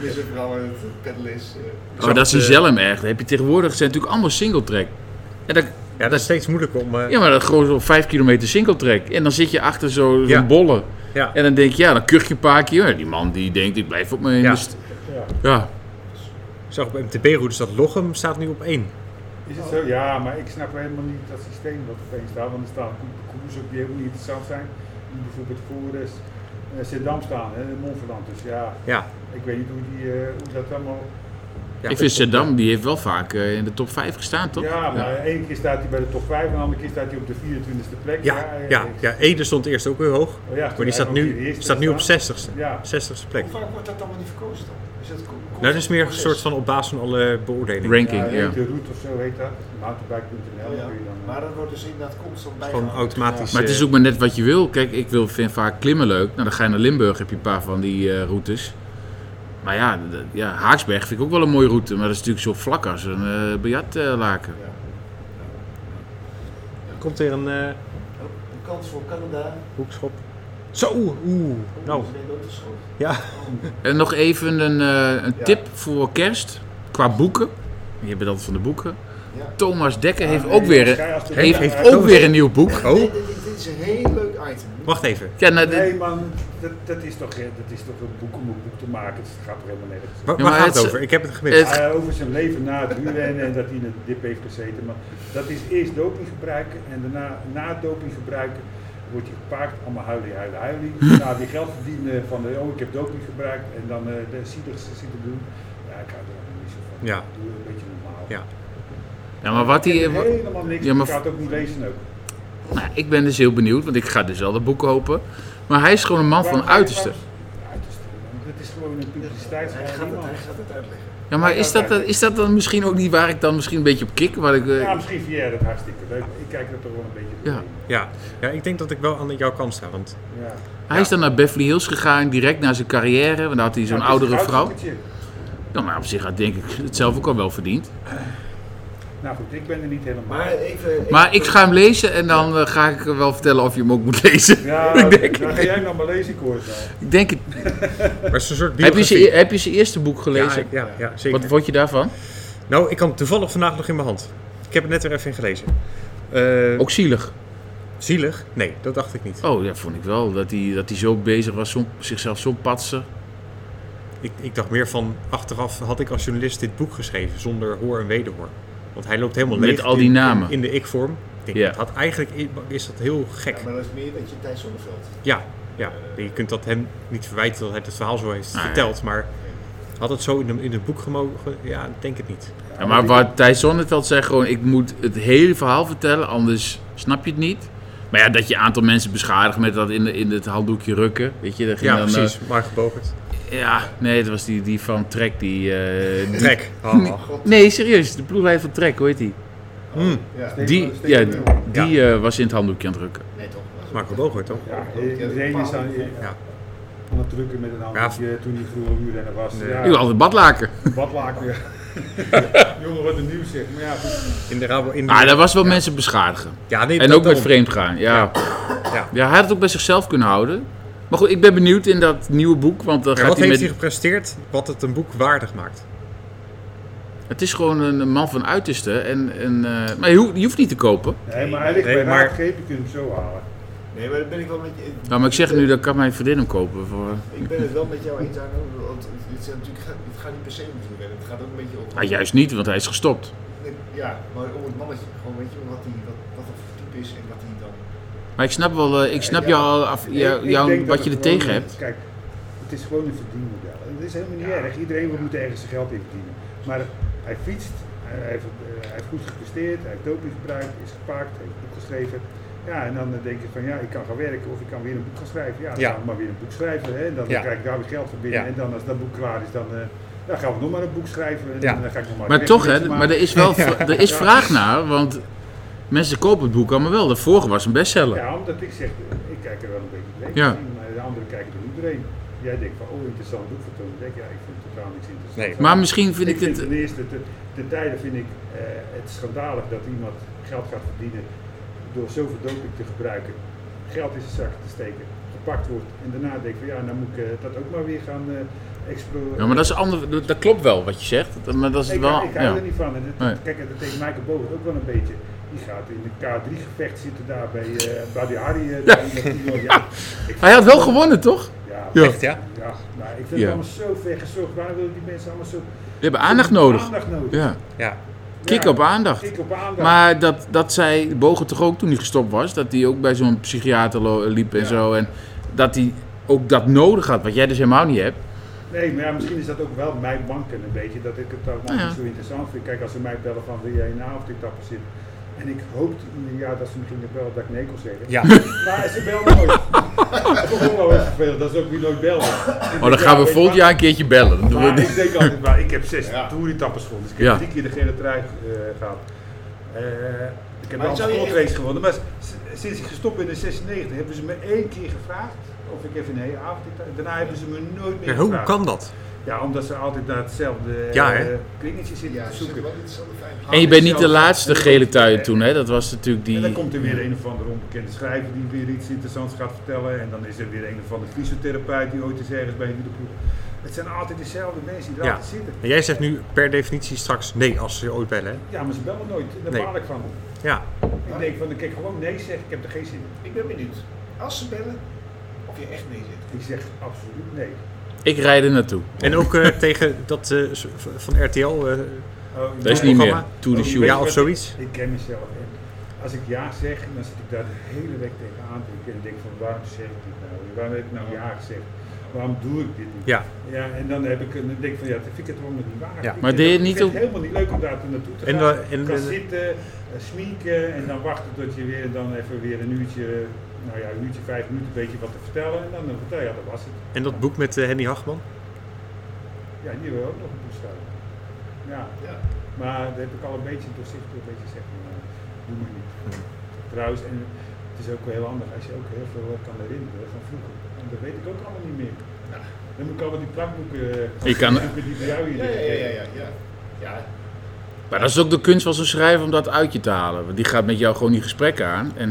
Je is vooral aan het peddelen is. eh,
Oh, dat is een
eh,
zelm echt. Heb je tegenwoordig, zijn natuurlijk allemaal singletrack. En dan
ja, dat is steeds moeilijker om... eh,
Ja, maar dat gewoon zo'n 5 kilometer singletrack. En dan zit je achter zo- zo'n
Ja.
bolle.
Ja.
En dan denk je, ja, dan kuch je een paar keer. Ja, die man die denkt, ik blijf op mijn...
Ja.
Ja.
Ja.
ja.
Ik zag op MTB-routes dat Lochem staat nu op één.
Is het zo? Oh. Ja, maar ik snap helemaal niet dat systeem wat opeens staat. Want er staan koers op die helemaal niet interessant zijn. Die bijvoorbeeld voor eh Zendam staan, hè, Montferland. Dus ja,
Ja.
ik weet niet hoe, die, eh, hoe dat allemaal...
ja.
Ik vind Seddam, die heeft wel vaak eh, in de top 5 gestaan, toch?
Ja, maar één keer staat hij bij de top 5 en de andere keer staat hij op de 24e plek.
Ja,
eh,
ja, ja, Ede stond eerst ook weer hoog.
Oh ja,
Maar die staat
ook de
nu,
eerste
staat nu op
staan.
60ste.
Ja.
60ste plek.
Hoe vaak wordt dat dan wel niet verkozen dan? Is dat co- co-
Nou, dat is meer een
proces?
soort van op basis van alle beoordelingen.
Ja,
Ranking, ja.
heet de route of zo heet dat. Mountainbike.nl
Oh ja,
kun je dan... eh,
Maar dat wordt dus inderdaad constant bij.
Gewoon automatisch.
Maar het is ook maar net wat je wil. Kijk, ik wil, vind vaak klimmen leuk. Nou, dan ga je naar Limburg, heb je een paar van die eh, routes. Maar ja, d- ja, Haaksberg vind ik ook wel een mooie route. Maar dat is natuurlijk zo vlak als een eh biljartlaken.
Komt er een eh,
Een kans voor Canada.
hoekschop. Zo, oeh. Nou,
Oh, nee, dat is goed.
ja.
En nog even een, eh, een
Ja.
tip voor kerst. Qua boeken. Je bent altijd van de boeken.
Ja.
Thomas Dekker heeft
nee,
ook weer,
als jij als de-
heeft,
heeft
ook
Thomas-
weer een nieuw boek.
Oh,
Dit, dit- dit is een heel leuk item.
wacht even.
Ja, nou, dit-
Nee man, dat, dat, is toch, eh, dat is toch een boek om een boek te maken. Het gaat toch helemaal nergens.
Waar,
Ja,
waar
maar
gaat het
het-
over? Ik heb het gemist.
het-
Eh, over zijn leven na het wielrennen en dat hij in een dip heeft gezeten. Maar dat is eerst doping gebruiken en daarna na het doping gebruiken wordt hij gepaard. Allemaal huilie, huilie, huilie. Na die nou geld verdienen van de, oh ik heb doping gebruikt en dan eh, de zieligste zitten doen. Ja, ik hou er allemaal niet zo van.
Ja.
Doe een beetje normaal.
Ja.
ja, maar wat
Ik
hij,
ken helemaal niks.
Ja, maar-
Ik ga het ook niet lezen ook.
nou, ik ben dus heel benieuwd, want ik ga dus wel dat boek kopen. Maar hij is gewoon een man
Waarom
van
ga je
uiterste.
langs- Uiterste. man. Dat is gewoon een
Hij gaat,
publiciteitsgeheim.
het,
man.
hij gaat het uitleggen.
Ja, maar is dat, dan- is dat dan misschien ook niet waar ik dan misschien een beetje op kik? Waar ik, eh,
Ja, misschien vind jij dat hartstikke leuk. maar Ik kijk er toch wel een beetje
Ja.
Ja. ja, ik denk dat ik wel aan jouw kant sta. Want
Ja. Ja,
Hij is dan naar Beverly Hills gegaan, direct naar zijn carrière. Want daar had hij zo'n
het is
oudere
een
vrouw.
oudzoekertje.
Nou, maar op zich had denk ik het zelf ook al wel verdiend.
Nou goed, ik ben er niet helemaal.
Maar even.
Maar ik ga hem lezen en dan eh, ga ik wel vertellen of je hem ook moet lezen.
ja,
ik denk-
dan ga jij nog maar lezen, ik hoor het al.
Ik denk het.
maar het is een soort
Heb je,
biografie.
zijn, heb je zijn eerste boek gelezen?
Ja, ja, ja, zeker.
Wat vond je daarvan?
Nou, ik kan het toevallig vandaag nog in mijn hand. Ik heb het net weer even in gelezen. Eh,
Ook zielig.
Zielig? Nee, dat dacht ik niet.
Oh, ja, vond ik wel. Dat hij, dat hij zo bezig was, zo, zichzelf zo patsen.
Ik, ik dacht meer van, achteraf had ik als journalist dit boek geschreven zonder hoor en wederhoor. Want hij loopt helemaal
Met
leeg
al die
in-
namen.
In, de ik-vorm. Ik denk,
Ja.
dat had, eigenlijk is dat heel gek.
Ja, maar dat is meer dat je Thijs Zonneveld.
Ja, ja. je kunt dat hem niet verwijten dat hij het verhaal zo heeft
Ah, ja.
verteld, maar had het zo in een, in een boek gemogen? Ja, ik denk het niet.
Ja, maar wat Thijs Zonneveld zei gewoon, ik moet het hele verhaal vertellen, anders snap je het niet. Maar ja, dat je een aantal mensen beschadigt met dat in, de, in het handdoekje rukken. Weet je, dat ging
Ja,
dan, eh,
precies. Maar gebogerd.
Ja, nee, dat was die, die van Trek. Die, eh, die-
Trek.
Nee.
Oh,
God.
Nee, serieus. De ploegleider van Trek, hoe heet die?
Mm,
Ja.
Die,
Steven
ja,
Steven Mulder.
die eh, was in het handdoekje aan het drukken.
Nee, toch? Dat is
Marco Boger, toch?
Ja, iedereen is aan,
Ja.
aan het drukken met een handje toen die groene wielrenner was.
Nee.
Ik wil
Ja,
altijd badlaken.
wat laken weer. Jongen, wat een nieuws zeg. Maar ja, goed.
In de Rabo... In de...
Maar Ah, daar was wel mensen beschadigen.
ja, nee,
En
dat
ook met
daarom.
vreemd gaan. Ja.
Ja.
Ja. hij had het ook bij zichzelf kunnen houden. Maar goed, ik ben benieuwd in dat nieuwe boek. Want dan
Maar
gaat
wat
hij
heeft
met...
hij gepresteerd wat het een boek waardig maakt?
Het is gewoon een man van uiterste. En, en, eh, maar je hoeft, je hoeft niet te kopen.
Nee, maar hij ligt
Nee,
bij
maar-
raad greep, je kunt hem zo halen.
Nee, maar dat ben ik wel met je.
Nou, maar ik zeg nu, dat kan mijn vriendin hem kopen. Voor...
Ik ben het wel met jou eens aan, want het, het, is natuurlijk, het gaat niet per se om wielrennen. Het gaat ook een beetje om.
Nou, juist niet, want hij is gestopt.
Ja, maar om het mannetje. Gewoon weet je wat hij wat, wat dat voor type is en wat hij dan.
Maar ik snap wel, eh, ik snap
Ja,
jou, af, jou,
Ik- ik
jou-
denk dat
wat je er
het gewoon
tegen
een-
hebt.
Kijk, het is gewoon een verdienmodel. En Het is helemaal niet erg. Iedereen wil moet ergens zijn geld in verdienen. Maar hij fietst, hij hij heeft, eh, hij heeft goed gepresteerd, hij heeft doping gebruikt, is gepakt, heeft een boek geschreven. Ja, en dan eh, denk je van ja, ik kan gaan werken of ik kan weer een boek gaan schrijven. Ja, dan
Ja.
gaan we maar weer een boek schrijven. Hè. En dan
Ja.
krijg ik daar weer geld voor binnen.
Ja.
En dan als dat boek klaar is, dan, eh, dan gaan we nog maar een boek schrijven. En
Ja.
dan ga ik nog maar
Maar
weer
toch, hè,
mensen
maar
maken.
er is wel er is vraag naar, want mensen kopen het boek allemaal wel. De vorige was een bestseller.
Ja, omdat ik zeg, eh, ik kijk er wel een beetje doorheen.
Ja.
Maar de anderen kijken er niet doorheen. Jij denkt van, oh, interessant boek van Tony Dek. Ja, ik vind het totaal niks interessant.
Nee.
Maar misschien vind
ik
ik
vind
het...
ten eerste, te, ten tijde vind ik eh, het schandalig dat iemand geld gaat verdienen door zoveel doping te gebruiken, geld in zijn zak te steken, gepakt wordt en daarna denk van ja, dan moet ik eh, dat ook maar weer gaan eh exploreren.
Ja, maar dat, is ander, dat- dat klopt wel wat je zegt. Dat- Maar dat is
Ik,
wel...
ik hou
Ja.
er niet van. En dat,
Nee.
Kijk, en dat deed Michael Boven ook wel een beetje. Die gaat in de K3-gevecht zitten daar bij eh Badi Hari. eh, daar in dat toernooi. ja. ik-
Hij had wel gewonnen, toch?
Ja,
Ja.
Echt, ja?
ja, maar ik vind het
Ja.
allemaal zo ver gezocht. Waarom willen die mensen allemaal zo...
Die hebben aandacht nodig.
Aandacht nodig.
Ja.
Ja.
Kik
Ja,
op aandacht.
kik op aandacht.
Maar dat, dat zei Bogen toch ook toen hij gestopt was, dat hij ook bij zo'n psychiater lo- liep en
Ja.
zo. En dat hij ook dat nodig had, wat jij dus helemaal niet hebt.
Nee, maar ja, misschien is dat ook wel mijn banken een beetje, dat ik het allemaal
Nou Ja.
niet zo interessant vind. Kijk, als ze mij bellen van wil jij in de avondetappe zitten. En ik hoopte ieder jaar dat ze me gingen bellen dat ik nee kon zeggen.
Ja.
Maar ze bellen nooit. dat is ook wel heel vervelend, dat is ook wie nooit bellen.
Oh, dan gaan we volgend jaar een keertje bellen. Dan doen we
Maar
dit.
ik denk altijd, maar ik heb zes ja. gewonnen. Dus ik heb
Ja.
drie keer de gele trui eh, gehad. Eh, ik heb
Maar
wel
zou
een
je-
sportrace gewonnen. Maar s- sinds ik gestopt ben in 96 hebben ze me één keer gevraagd of ik even een hele avond... Daarna hebben ze me nooit meer
Ja,
gevraagd.
hoe kan dat?
Ja, omdat ze altijd naar hetzelfde
Ja,
eh,
hè?
kringetje zitten
Ja,
te
ze zitten
zoeken.
wel iets aan de fijn.
En je bent niet de
zelf-
laatste gele tuin toen, hè? Dat was natuurlijk
En dan
die.
komt er weer een of andere onbekende schrijver die weer iets interessants gaat vertellen. En dan is er weer een of andere fysiotherapeut die ooit eens ergens bij een wielerploeg. Het zijn altijd dezelfde mensen die er
Ja.
altijd zitten.
En jij zegt nu per definitie straks nee als ze je ooit bellen. hè?
Ja, maar ze bellen nooit. Daar
Nee.
baal ik van.
Ja.
Ik denk van, ik gewoon nee zeggen, ik heb er geen zin in.
Ik ben benieuwd. Als ze bellen, of je echt mee zit.
Ik zeg absoluut nee.
Ik rijd er naartoe.
En ook eh, tegen dat eh, s- v- van RTL. eh,
Oh,
Dat is
nee.
niet meer.
Programma?
To the shoe.
ja, of zoiets.
Ik ken mezelf. En als ik ja zeg, dan zit ik daar de hele week tegenaan te denken. En denk van, waarom zeg ik dit nou? Waarom heb ik nou ja gezegd? Waarom doe ik dit niet?
Ja.
Ja, en dan heb ik een, dan denk ik van ja, dat vind ik het helemaal niet waar.
Ja.
Ik
Maar
vind
deed je
dat-
niet
ik vind
ook-
het helemaal niet leuk om daar toe naartoe te
En
gaan.
we- en
gaan
we-
zitten, eh, smieken en dan wachten tot je weer en dan even weer een uurtje, nou ja, een uurtje, vijf minuten een beetje wat te vertellen. En dan eh, vertel je, ja, dat was het.
En dat boek met eh, Henny Hagman.
Ja, hier wil ik ook nog een boek schrijven. Ja,
Ja.
maar daar heb ik al een beetje doorzichtig een beetje gezegd, van, eh, doe maar niet.
Hmm.
Trouwens, en het is ook wel heel handig als je ook heel veel eh, kan herinneren van vroeger. En dat weet ik ook allemaal niet meer. Dan moet ik allemaal die plakboeken eh,
Je kan-
zoeken die bij jou hier
Ja, ja,
liggen.
ja, ja. ja. ja.
Maar dat is ook de kunst van zo'n schrijver om dat uit je te halen. Want die gaat met jou gewoon die gesprekken aan. En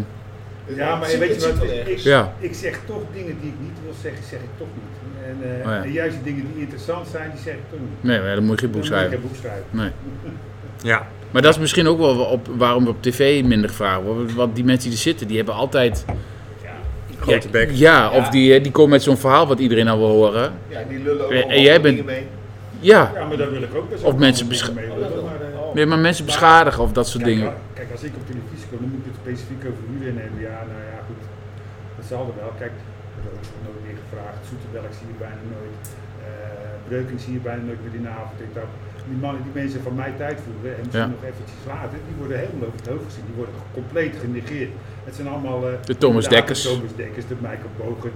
Ja, maar
Het
weet
zit-
je
het
wat,
zit wel
ik,
ergens.
Ja.
ik zeg toch dingen die ik niet wil zeggen, zeg ik toch niet. En,
Oh
eh,
ja.
en juist de dingen die interessant zijn, die zeg ik toch niet.
nee, maar dan moet je geen
Dan
boek
moet ik een
schrijven.
boek schrijven.
Nee.
Ja.
Maar dat is misschien ook wel op, waarom we op tv minder gevraagd worden. Want die mensen die er zitten, die hebben altijd.
Grote
ja,
bek.
Ja, of
Ja.
die, eh, die komen met zo'n verhaal wat iedereen al wil horen.
Ja, die lullen ook
En- en
allemaal
jij bent-
dingen mee.
Ja.
Ja, maar daar wil ik ook best
Of
wel
mensen
mee
besch-
willen,
Oh, dat wel.
maar, eh,
Oh.
Nee, maar mensen beschadigen of dat soort
Kijk,
dingen.
al- Kijk, als ik op televisie kom, dan moet ik het specifiek over wielrennen hebben. Ja, nou ja, goed. Dat zal er wel. Kijk, dat heb ik nog nooit meer gevraagd. Zoeterberg zie je bijna nooit. Eh Breuking zie je bijna nooit meer in de avond. Ik dacht, die mannen die mensen van mijn tijd voeren en misschien
Ja.
nog eventjes later, die worden helemaal over het hoofd gezien. Die worden compleet genegeerd. Het zijn allemaal... eh,
De Thomas
inderdaad,
Dekkers.
De Thomas Dekkers, de Michael Bogen.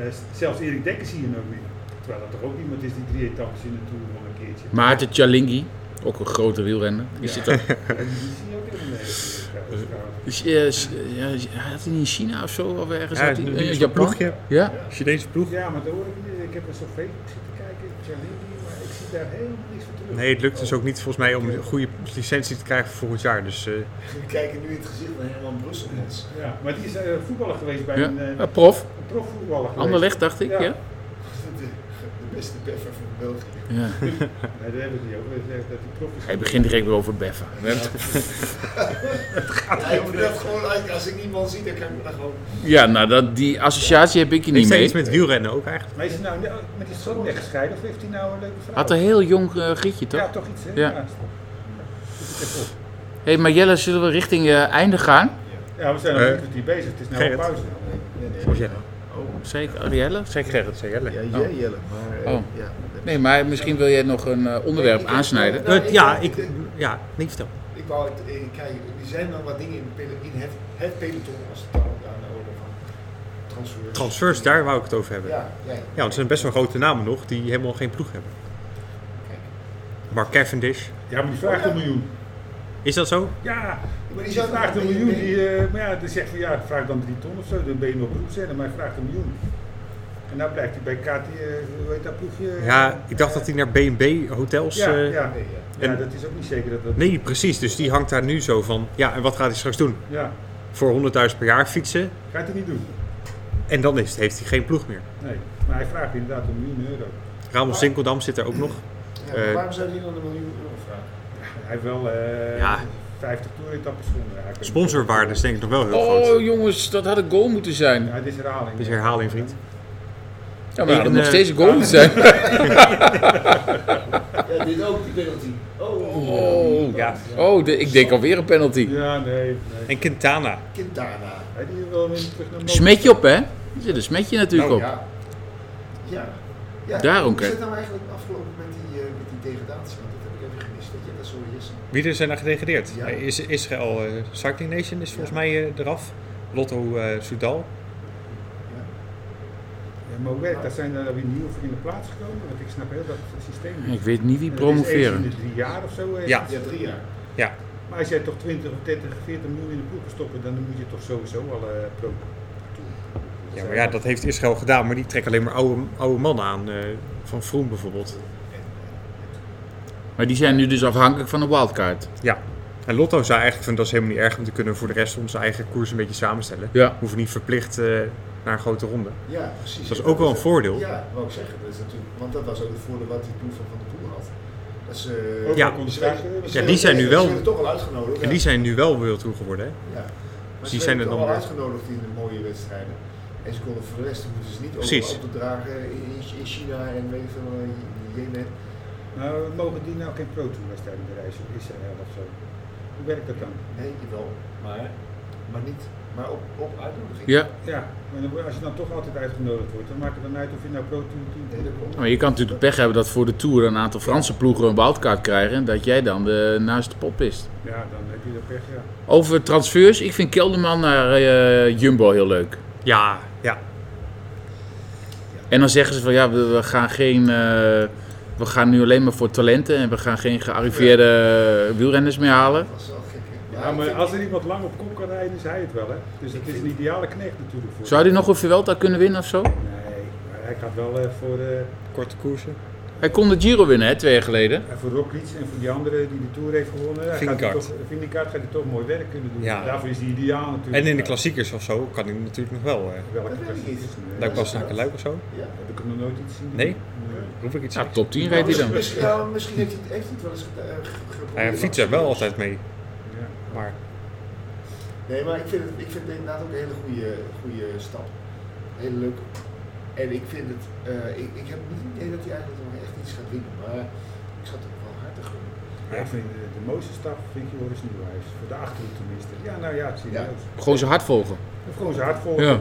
Eh, s- zelfs Erik Dekkers zie je nog meer. Terwijl dat toch ook iemand is die drie etappes in de Tour nog een keertje.
Maarten Tjalingi, ook een grote wielrenner. Die
Ja.
zit er.
En die zie je ook helemaal nergens. in de Tour trouwens.
Dus, eh, s- ja, had hij niet in China of zo? Of ergens?
Ja,
had hij,
nu
eh,
is een
Japan?
ploegje,
Ja?
Chinese ploeg.
Ja, maar daar hoor ik niet. Ik heb eens op Facebook zitten kijken, Jalindi, maar ik zie daar helemaal niks van terug.
Nee, het lukt dus ook niet volgens mij om een goede licentie te krijgen voor volgend jaar. Dus eh,
We kijken nu in het gezicht van Herman Brusselmans.
Ja, maar die is eh, voetballer geweest bij
Ja.
een, eh,
Eh, prof,
een profvoetballer geweest.
Anderlecht dacht ik,
Ja.
ja?
De, de beste beffer van België.
ja.
Nee, daar hebben die ook. Dat dat die prof is.
Hij begint direct weer over Beffen.
Ja, ik moet dat gewoon uit. Als ik niemand zie, dan kan ik me daar gewoon.
Ja, nou dat, die associatie heb ik hier
heeft
niet
hij
mee.
iets met wielrennen ook eigenlijk?
Maar is hij nou ne- met die schoon weggescheiden of heeft hij nou een leuke vrouw?
Had een heel jong eh, gietje toch?
Ja, toch iets, hè?
Ja.
Zoek het even op.
Hé, maar Jelle, zullen we richting eh, einde gaan?
Ja, we zijn al
Eh,
een kwartier bezig. Het is nou
Gerrit.
een pauze.
Nee, nee.
Volgens jij?
Zeg ik, oh, Jelle? Zeg Gerrit.
Zeg jij?
Ja, jij Jelle. Maar, eh,
Oh.
ja,
Nee, maar misschien wil jij nog een eh, onderwerp
Nee, ik-
aansnijden.
Nou, ik-
Eh, ja, ik, ja, nee, vertel.
Ik wou het, eh, kijk, er zijn wel wat dingen in, het pele- in het, het peloton als het dan aan de orde van transfers.
Transfers, daar wou ik het over hebben. Ja,
Ja, jij.
want er zijn best wel grote namen nog die helemaal geen ploeg hebben.
Kijk.
Mark Cavendish.
Ja, maar die vraagt een miljoen.
Is dat zo?
Ja,
Maar die
die
zou-
vraagt een miljoen. Die, eh, maar ja, die zegt van ja, vraag dan drie ton of zo. Dan ben je nog beroepsrenner, maar hij vraagt een miljoen. En nou blijkt hij bij KT, eh, hoe heet dat ploegje?
Ja, ik dacht dat hij naar B&B hotels...
Ja,
eh,
ja.
Nee, ja.
ja,
en-
dat is ook niet zeker dat dat...
Nee, precies. Dus die hangt daar nu zo van. Ja, en wat gaat hij straks doen?
Ja,
Voor 100.000 per jaar fietsen.
gaat hij niet doen.
En dan is het, heeft hij geen ploeg meer.
Nee, maar hij vraagt inderdaad een miljoen euro.
Ramos Sinkeldam zit daar ook nog.
Ja, maar
Eh,
waarom zou die dan een miljoen euro vragen?
Hij heeft wel eh
Ja.
50 toeretappes gewonnen. Hij kan-
Sponsorwaarde is denk ik nog wel heel groot.
Oh jongens, dat had een goal moeten zijn.
Ja, dit is herhaling.
Dus herhaling, vriend.
Ja, maar dat
en,
had nog
eh,
steeds een goal moeten zijn.
Ja, dit ook, die penalty. Oh, oh,
Oh, ja. oh de- ik denk alweer een penalty.
Ja, nee. nee.
En Quintana.
Quintana.
Hij die wil weer terug naar Mo-
Smetje op, hè? Er zit een smetje natuurlijk op.
Oh, Ja. ja. ja.
Daarom
Hoe
kijk.
is het nou eigenlijk afgelopen met die, eh, met die degradatie? Want dat heb ik even gemist. Dat je dat zo is.
Wie er zijn aan gedegradeerd?
Ja.
Eh, Is, Israël eh, Cycling Nation is volgens mij eh, eraf. Lotto eh Soudal.
Ja, Mo Wed, Daar zijn er weer nieuwe voor in de plaats gekomen. Want ik snap heel dat systeem niet.
Ik weet niet wie
En dat is eens
promoveren.
in de drie jaar of zo. eh,
Ja.
iets.
Ja, drie jaar.
Maar als jij toch 20 of 30, 40 miljoen in de ploeg kan stoppen, dan moet je toch sowieso al eh pro.
Ja, maar ja, dat heeft Israël gedaan. Maar die trekken alleen maar oude, oude mannen aan. eh, van Vroom bijvoorbeeld.
Maar die zijn nu dus afhankelijk van een wildcard.
Ja. En Lotto zei eigenlijk van dat is helemaal niet erg. Want we kunnen voor de rest onze eigen koers een beetje samenstellen.
Ja.
Hoeven niet verplicht eh, naar een grote ronde.
Ja, precies.
Dat is ook wel een voordeel.
Ja, wou ik zeggen. Dat is natuurlijk, want dat was ook het voordeel wat die ploeg van Van de Poel had. Dat is, eh,
Ook
Ja.
al contract, eh,
Ze
Ja,
was-
werden-
die zijn nu
ze
wel-
werden toch al uitgenodigd.
En die zijn nu wel World Tour geworden. Hè?
Ja. Maar
die
ze
zijn
werden
er
toch
dan
al
weer.
uitgenodigd in de mooie wedstrijden. En ze konden voor de rest moeten ze niet
Precies.
overal opdragen in, in China en weet ik veel, eh, Jemen.
Nou, mogen die nou geen pro tour wedstrijden bereizen in Israël of zo? Hoe werkt dat dan?
Nee, jawel. Maar, maar niet. Maar op, op uitnodiging.
Ja,
Ja, maar dan- als je dan toch altijd uitgenodigd wordt, dan maakt het dan uit of je nou pro tour
Nee,
team
dat komt.
maar je kan natuurlijk pech hebben dat voor de Tour een aantal Franse ploegen een wildcard krijgen. En dat jij dan de, naast de pot pist.
Ja, dan heb je dat pech, ja.
Over transfers, ik vind Kelderman naar eh, Jumbo heel leuk.
Ja, ja.
En dan zeggen ze van ja, we, we gaan geen. eh, we gaan nu alleen maar voor talenten en we gaan geen gearriveerde eh, wielrenners meer halen.
Dat was wel gek. hè.
Ja,
ik
Nou, maar
vind-
als er iemand lang op kop kan rijden, is hij het wel, hè? Dus het is een ideale knecht natuurlijk voor.
Zou nou- hij nog een Vuelta kunnen winnen of zo?
Nee, maar hij gaat wel eh, voor, eh
Korte koersen.
Hij kon de Giro winnen, hè, twee jaar geleden.
voor Roglic en voor die andere die de Tour heeft gewonnen. Hij
Vingegaard.
gaat hij toch- Vingegaard gaat hij toch mooi werk kunnen doen.
Ja.
Daarvoor is hij ideaal natuurlijk.
En in de klassiekers of zo kan hij natuurlijk nog wel. eh
Dat
Welke
weet ik
klassiek
niet.
is het?
Luik
Nee,
was naar Luik of zo.
Ja.
Heb ik hem nog nooit iets zien.
Nee?
Nee.
Roep ik iets
Ja,
uit?
top 10 reed hij dan.
Nou, Misschien, ja, misschien heeft hij het echt niet wel eens geda- eh, ge- geprobeerd.
Hij fietst er wel altijd mee.
Ja.
Maar
Nee, maar ik vind het, ik vind het inderdaad ook een hele goede, goede stap. Heel leuk. En ik vind het, eh, ik, ik heb niet het idee dat hij eigenlijk nog echt iets gaat winnen, maar ik zat hem wel hard te gunnen.
Maar Ik vind de, de mooiste stap vind je Joris Nieuwhuis. Voor de achterhoek tenminste. Ja, nou ja, serieus.
Gewoon zijn hart volgen.
Of gewoon zijn hart volgen.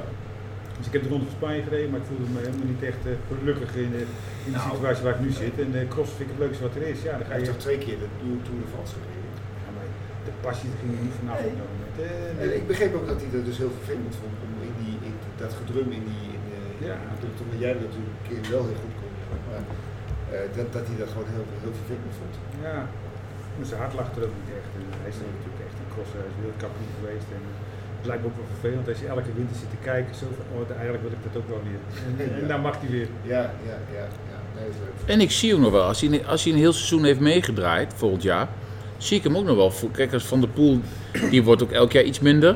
Dus ik heb de Ronde van Spanje gereden, maar ik voelde me helemaal niet echt eh, gelukkig in, de- in de
Nou.
situatie waar ik nu zit. En eh cross vind ik het leukste wat er is. Ja, dan ga
Hij heeft
je
toch twee keer de Tour- Tour de France gereden.
Ja, maar de passie die ging er niet vanaf.
Nee.
op dat moment. Eh,
En ik begreep ook dat hij dat dus heel vervelend vond om in die, in dat gedrum in die, in, eh,
Ja.
in de Tour, terwijl jij dat natuurlijk een keer wel heel goed kon. eigenlijk. Maar eh, dat, dat hij dat gewoon heel, heel vervelend vond.
Ja, maar zijn hart lag er ook niet echt. En hij is dan natuurlijk echt een crosshuis wereldkampioen geweest. En het lijkt me ook wel vervelend als je elke winter zit te kijken. Zo van, oh, eigenlijk wil ik dat ook wel weer. En, en dan mag hij weer.
Ja, ja, ja. ja. Nee, dat is leuk.
En ik zie hem nog wel. Als hij, als hij een heel seizoen heeft meegedraaid, volgend jaar, zie ik hem ook nog wel. voor- Kijk, als Van der Poel, die wordt ook elk jaar iets minder.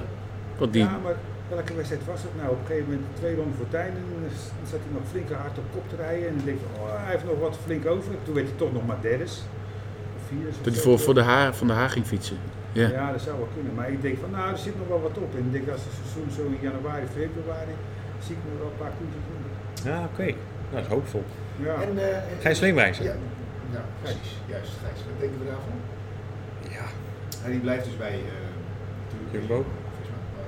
Want die,
Ja, maar welke wedstrijd was het nou? Op een gegeven moment twee ronden voor tijd en dan s- dan zat hij nog flink hard op kop te rijden. En dan denk ik, van, oh, hij heeft nog wat flink over. Toen werd hij toch nog maar derde. Of vierde.
dat hij voor, voor de haar, van de haar ging fietsen. Ja.
Ja, dat zou wel kunnen. Maar ik denk van, nou, er zit nog wel wat op. En ik denk als het seizoen zo in januari, februari, zie ik nog wel een paar koersen doen.
Ja, oké. Nou, dat is hoopvol.
Ja.
En, eh, en-
Gijs Leemrijzer.
Ja, nou, precies. Juist, Gijs. Wat denken we daarvan?
Ja.
En die blijft dus bij eh, natuurlijk
Jumbo.
Volgens mij.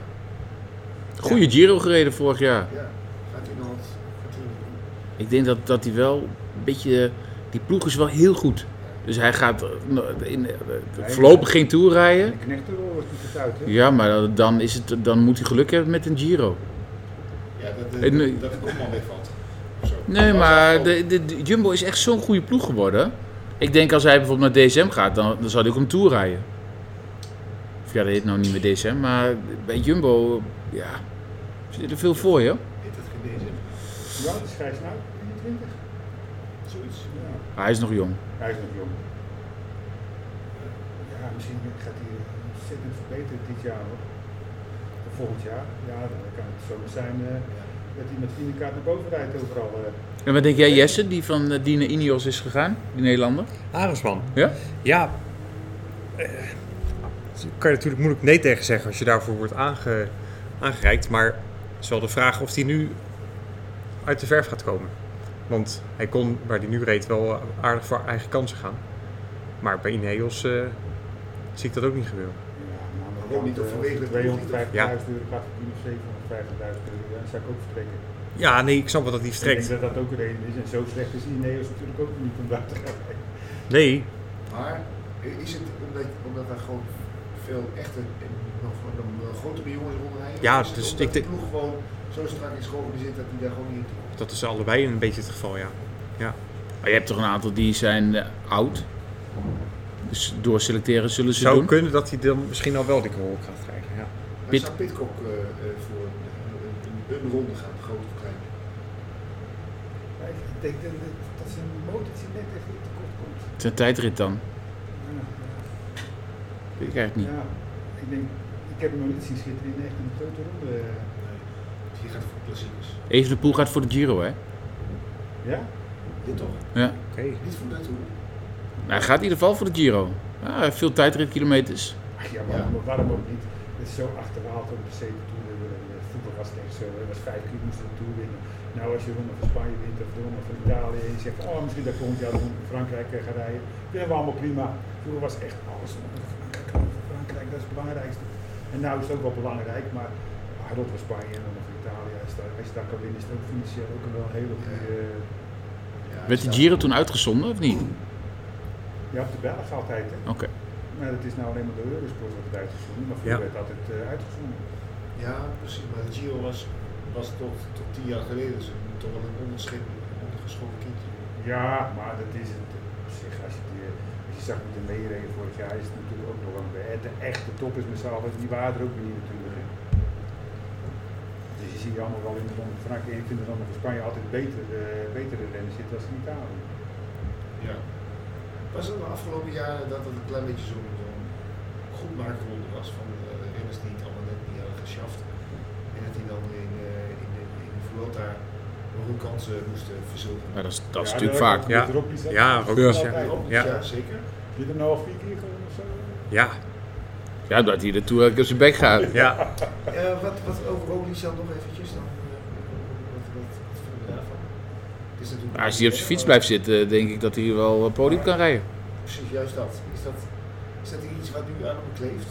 Maar,
Goede Giro gereden vorig jaar.
ja, gaat hij nog wat? Gaat hij nog wat doen?
Ik denk dat, dat hij wel een beetje. eh, Die ploeg is wel heel goed. Dus hij gaat eh, no- in, eh, voorlopig geen tour
En
rijden.
de knechtenrol was niet het uit, hè?
Ja, maar dan, is het, dan moet hij geluk hebben met een Giro.
Ja, dat,
En,
de-
eh,
dat, de kopman wegvalt. Of zo.
Nee,
Dat was
maar
echt wel-
de, de, de Jumbo is echt zo'n goede ploeg geworden. Ik denk als hij bijvoorbeeld naar DSM gaat, dan, dan zou hij ook een tour rijden. Of ja, dat heet nou niet meer DSM, maar bij Jumbo, ja, zit er veel voor, joh.
Heet dat geen deze?
Ja, dat is Gijs nou, 21.
Zoiets.
Ja.
Hij is nog jong.
Hij is nog jong. Ja, misschien gaat hij ontzettend verbeteren dit jaar hoor. Of volgend jaar. Ja, dan kan het zo zijn eh, dat hij met kaart naar boven rijdt overal. eh.
En wat denk jij, Jesse, die van eh, die naar Ineos is gegaan, die Nederlander?
Arendsman.
Ja?
Ja. eh, kan je natuurlijk moeilijk nee tegen zeggen als je daarvoor wordt aange, aangereikt. Maar het is wel de vraag of hij nu uit de verf gaat komen. Want hij kon waar hij nu reed wel aardig voor eigen kansen gaan. Maar bij Ineos eh, zie ik dat ook niet gebeuren.
Ja, maar aan de
Waarom niet?
kant,
Of
eh,
vanwege de
250.000
Ja.
euro gaat verdienen of 750.000 euro. Ja, dan zou ik ook vertrekken.
Ja, nee, ik snap wel dat hij
Ik
vertrekt.
denk dat dat ook een reden is. En zo slecht is Ineos natuurlijk ook niet om daar te gaan rijden.
Nee,
Maar is het omdat, omdat daar gewoon veel echte, nog, nog grotere jongens rondrijden?
Ja,
Of is het
dus
omdat
ik
de
denk-
ploeg gewoon zo strak is georganiseerd dat hij daar gewoon niet in komt?
dat is allebei een beetje het geval, ja.
Maar je hebt toch een aantal die zijn eh, oud. Dus door selecteren zullen ze
zou
doen.
kunnen dat hij dan misschien al wel die rol gaat krijgen. Ja.
Maar
Pit-
zou Pitcock eh, eh, voor een, een- een ronde gaan, groot of klein?
Maar Ik denk dat, dat, dat zijn motortje net echt in tekort komt.
Het is een tijdrit dan.
Ja.
Weet ik eigenlijk niet.
Ja, ik denk, ik heb hem nog niet zien schitteren in echt een grote ronde.
Nee. Dus die gaat voor klassiekers.
Even de poel gaat voor de Giro, hè?
Ja?
Dit toch?
Ja.
Oké.
Niet voor dat hoor.
Nou, hij gaat in ieder geval voor de Giro. Ja, veel tijdritkilometers.
Ach ja, maar
Ja.
maar waarom ook niet? Het is zo achterhaald om de C toe te winnen. eh, Voetbal was het echt zo, er was vijf keer moesten we de Tour winnen. Nou, als je ronde van Spanje wint of de ronde van Italië en je zegt, oh, misschien dat ik volgend jaar de ronde van Frankrijk eh, ga rijden. Vinden we allemaal prima. Vroeger was echt alles ronde van Frankrijk, ronde van Frankrijk, dat is het belangrijkste. En nou is het ook wel belangrijk, maar ah, ronde van Spanje en ronde van Italië, als je daar- als je daar kan winnen, is het ook financieel ook wel een hele goede... eh,
Ja,
Werd de
staat-
Giro toen uitgezonden of niet?
Ja, op de Belg altijd. Hè.
Oké.
Maar het is nou alleen maar de Eurosport wat het uitgezonden, maar vroeger
Ja.
werd altijd eh, uitgezonden.
Ja, precies. Maar de Giro was, was tot, tot tien jaar geleden dus toch wel een onderschip, een ondergeschoven kindje.
Ja, maar dat is het. Op zich, als je, die, als je zag met de meereden vorig jaar, is het natuurlijk ook nog wel een de echte top is met z'n allen, die waren er ook weer niet natuurlijk. Hè. Dus je ziet allemaal wel in de Ronde van Frankrijk en je vindt de Ronde van Spanje altijd beter, eh, betere rennen zitten als in Italië.
Ja. Was het de afgelopen jaren dat het een klein beetje zo'n zo goed maakronde was van eh, renners die het allemaal net niet hadden geschaft. En dat die dan in, eh, in, de, in de Vuelta nog hun kansen moesten verzilveren.
Ja, dat is, dat is
Ja,
natuurlijk
daar-
vaak.
Ja.
met Rocky zat-
Ja, Rocky,
altijd.
ja.
ja.
Ja.
zeker.
Zit er nou al vier keer gewoon of zo?
Ja,
Ja, dat hij er toe elke keer op zijn bek gaat.
ja.
Eh, wat, wat over Roglic nog eventjes dan? eh, wat, wat, wat vinden we daarvan? Het is natuurlijk
Maar Nou, als hij op zijn fiets blijft zitten, denk ik dat hij wel eh, podium kan rijden.
Precies, juist dat. Is dat, is dat iets wat nu aan hem kleeft?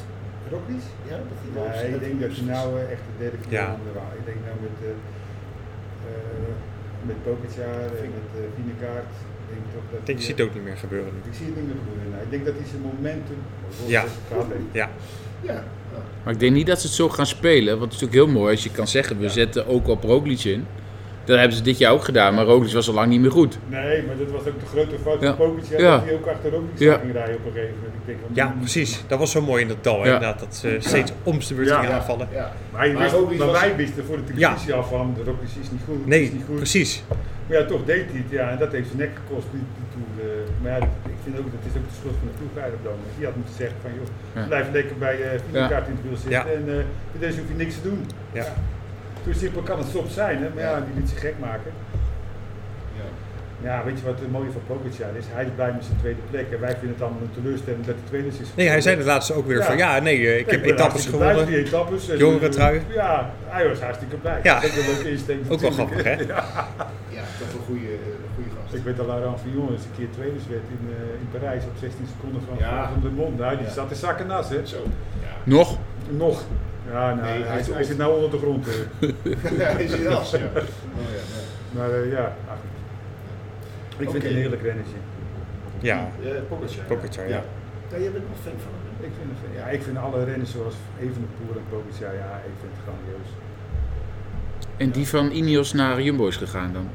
Rockies?
Ja, dat hij wel
Nee, ik denk dat je nou eh, echt de derde keer
Ja.
aan de wa- Ik denk nou met, eh eh met Pogacar en met eh Vinekaart. Ik denk toch dat
Ik denk, je
die,
ziet
eh,
het ook niet meer gebeuren nu.
Ik zie het niet meer gebeuren. Nou, ik denk dat hij zijn momentum oh,
Ja.
dat gaat heen.
Ja,
Ja, nou,
Maar ik denk niet dat ze het zo gaan spelen. Want het is natuurlijk heel mooi als je kan zeggen, we zetten ook op Roglic in. Dat hebben ze dit jaar ook gedaan, maar Roglic was al lang niet meer goed.
Nee, maar dat was ook de grote fout
Ja.
van Pogacar,
Ja.
dat hij ook achter Roglic
Ja.
ging rijden op een gegeven moment. Ik denk, van, hmm.
Ja, precies. Dat was zo mooi in dat dal, inderdaad. Dat ze steeds om de beurt
Ja.
gingen aanvallen.
Ja.
Maar, je
Maar
wist-
Roglic
maar
was-
wij wisten voor de televisie al van, de Roglic is niet goed,
Nee,
is niet goed.
precies.
Maar ja, toch deed hij het, ja, en dat heeft zijn nek gekost, die, die Tour, eh. maar ja, ik vind ook, dat is ook de schuld van de ploegleider dan. Die had moeten zeggen van, joh,
Ja.
blijf lekker bij eh Vingerkaart in het wiel zitten
Ja.
en eh, bij deze hoef je niks te doen.
Ja.
Zo simpel kan het soms zijn, hè? maar ja, die liet zich gek maken. Ja, weet je wat het mooie van Pogacar is? Hij is blij met zijn tweede plek en wij vinden het allemaal een teleurstelling dat hij tweede is.
Nee, hij
geworden.
zei het laatste ook weer
Ja.
van ja, nee, eh, ik heb etappes gewonnen.
Die etappes. En,
Jongerentrui.
eh, Ja, hij was hartstikke blij.
Ja.
Dat is ook een leuke insteek
Ook wel
natuurlijk.
grappig, hè?
Ja, toch een goede, een goede gast.
Ik weet dat Laurent Fignon eens een keer tweede werd in, eh, in Parijs op 16 seconden van,
Ja.
van de mond. Nou, die
Ja.
zat in zakken nas, hè?
Zo.
Nog?
Nog. Ja, nou,
Nee, hij
hij,
is
hij
op.
zit nou onder de grond. eh.
Ja, is hij af. Ja. Oh, ja,
maar eh, ja, nou goed. Ik vind
Oké.
het een heerlijk rennetje.
Ja,
ja. Eh, Pogacar.
Pogacar, ja.
Ja, jij bent nog fan van hem. hè?
Ik vind, het- ja, ik vind alle renners zoals Evenepoel en Pogacar, ja, ik vind het grandioos.
En die van Ineos naar Jumbo is gegaan dan?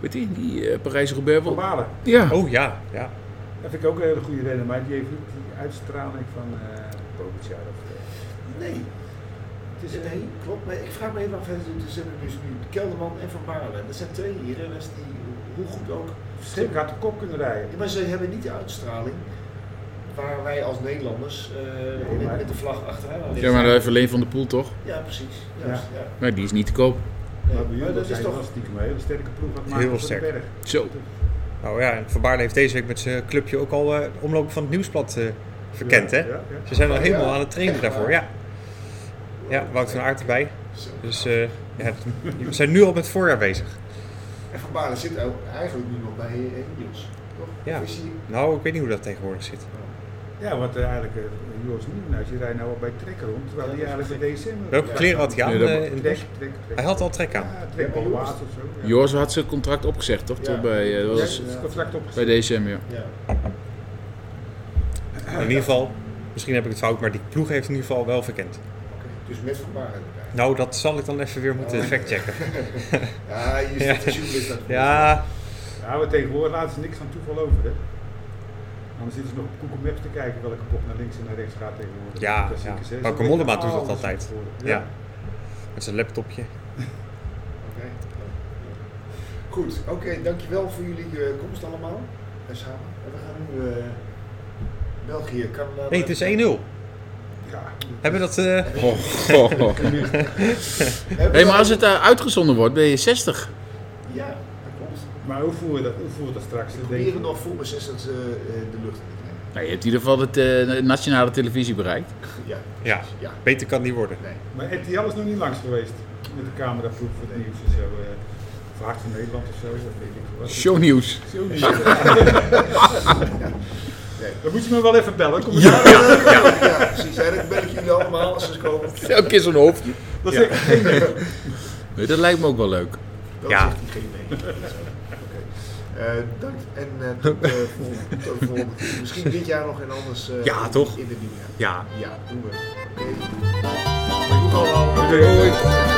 Weet je, die eh Parijs-Roubaix
Van
wel?
Balen,
Ja.
Oh ja, ja.
dat vind ik ook een hele goede renner, maar die heeft niet die uitstraling van eh Pogacar. of, eh,
Nee. Het is, nee, klopt. Maar ik vraag me even af, hè, dus hebben we dus nu Kelderman en Van Baarle. Dat zijn twee renners die, hoe goed ook,
Verschrikkelijk hard de kop kunnen rijden.
Ja, maar ze hebben niet de uitstraling waar wij als Nederlanders eh,
maar-
met, met de vlag achteraan aan
Ja,
liggen.
maar dat heeft alleen van de pool toch?
Ja, precies. Juist, ja.
Maar die is niet te koop.
Nee,
Maar bij
maar
Jumbo
dat is
zijn toch
toch...
stiekem een hele sterke ploeg aan het
Heel
maken voor de
sterk.
berg.
Zo.
Nou ja, en Van Baarle heeft deze week met zijn clubje ook al eh, de omloop van het nieuwsblad eh, verkend, hè?
Ja, ja, ja.
Ze zijn al
Ja.
helemaal aan het trainen
Echt
daarvoor,
waar?
ja. Ja, Wout van Aert erbij.
Zo.
Dus eh, ja, we zijn nu al met het voorjaar bezig.
En Van Baarle zit ook eigenlijk nu nog bij eh, Niels. Toch?
Ja.
Of Is hij...
Nou, ik weet niet hoe dat tegenwoordig zit.
Ja, want eh, eigenlijk, eh, Joost Nieuwenhuis, die rijdt nou al bij Trek rond, terwijl
Ja,
die
dat is
eigenlijk in december...
Welke
Ja.
kleren had hij aan
Nee, dat
eh,
mag-
in het
Trek,
bos?
Trek, Trek.
Hij had al trek aan.
Ja, Trek
Ja,
al
maar Joost-
water of zo. Ja.
Joris had zijn contract opgezegd toch?
Ja.
Toen bij, eh, dat
Ja,
was
het is contract
bij
opgezet.
DSM, ja.
Ja.
In ieder geval, misschien heb ik het fout, maar die ploeg heeft in ieder geval wel verkend.
Oké. Dus met Van Baarle erbij.
Nou, dat zal ik dan even weer moeten
Oh.
factchecken.
Ja, hier
Ja.
zit de journalist uit.
Ja,
Ja, maar tegenwoordig laten ze niks van toeval over, hè. Anders zitten ze nog op Google Maps te kijken welke pop naar links en naar rechts gaat tegenwoordig.
Ja,
Dat is
ja.
zeker, hè. Ze
Bauke
weten
Mollema doet dus dat
alles
altijd.
van tevoren.
ja. Met zijn laptopje.
Oké. Goed, oké, dankjewel voor jullie eh, komst allemaal. En samen. En we gaan nu eh, België, Canada.
Nee, het is 1-0. Hebben we
Ja.
dat... eh,
Hebben
Hé,
we-
maar als het eh, uitgezonden wordt, ben je 60.
Ja, dat klopt.
Maar hoe voeren we dat, hoe voeren we dat straks?
We
Dat denk ik-
proberen nog voor mijn 60 eh, eh, de lucht in te krijgen.
Nou, je hebt in ieder geval het eh, nationale televisie bereikt.
Ja,
ja,
ja.
beter kan het niet worden.
Nee.
Maar RTL is nog niet langs geweest met de cameraploeg voor het nieuws en zo. eh of Hart van Nederland of zo, dat weet ik veel wat.
Shownieuws.
Shownieuws. Dan moet je me wel even bellen. Kom ja.
Ja, precies. Ja, dan bel ik jullie allemaal als ze komen.
Elke keer zo'n hoofdje.
Dat
Ja.
is echt geen idee.
Nee, Dat lijkt me ook wel leuk.
Dat
Ja.
zegt hij geen nee. Dat is ook- Oké. Eh, dank en eh, tot eh, volgende, tot de volgende keer. Misschien dit jaar nog en anders eh,
Ja, toch?
in de nieuwe jaar.
Ja,
Ja, doen we. Oké. Doeg allemaal.
Doei.
Doei.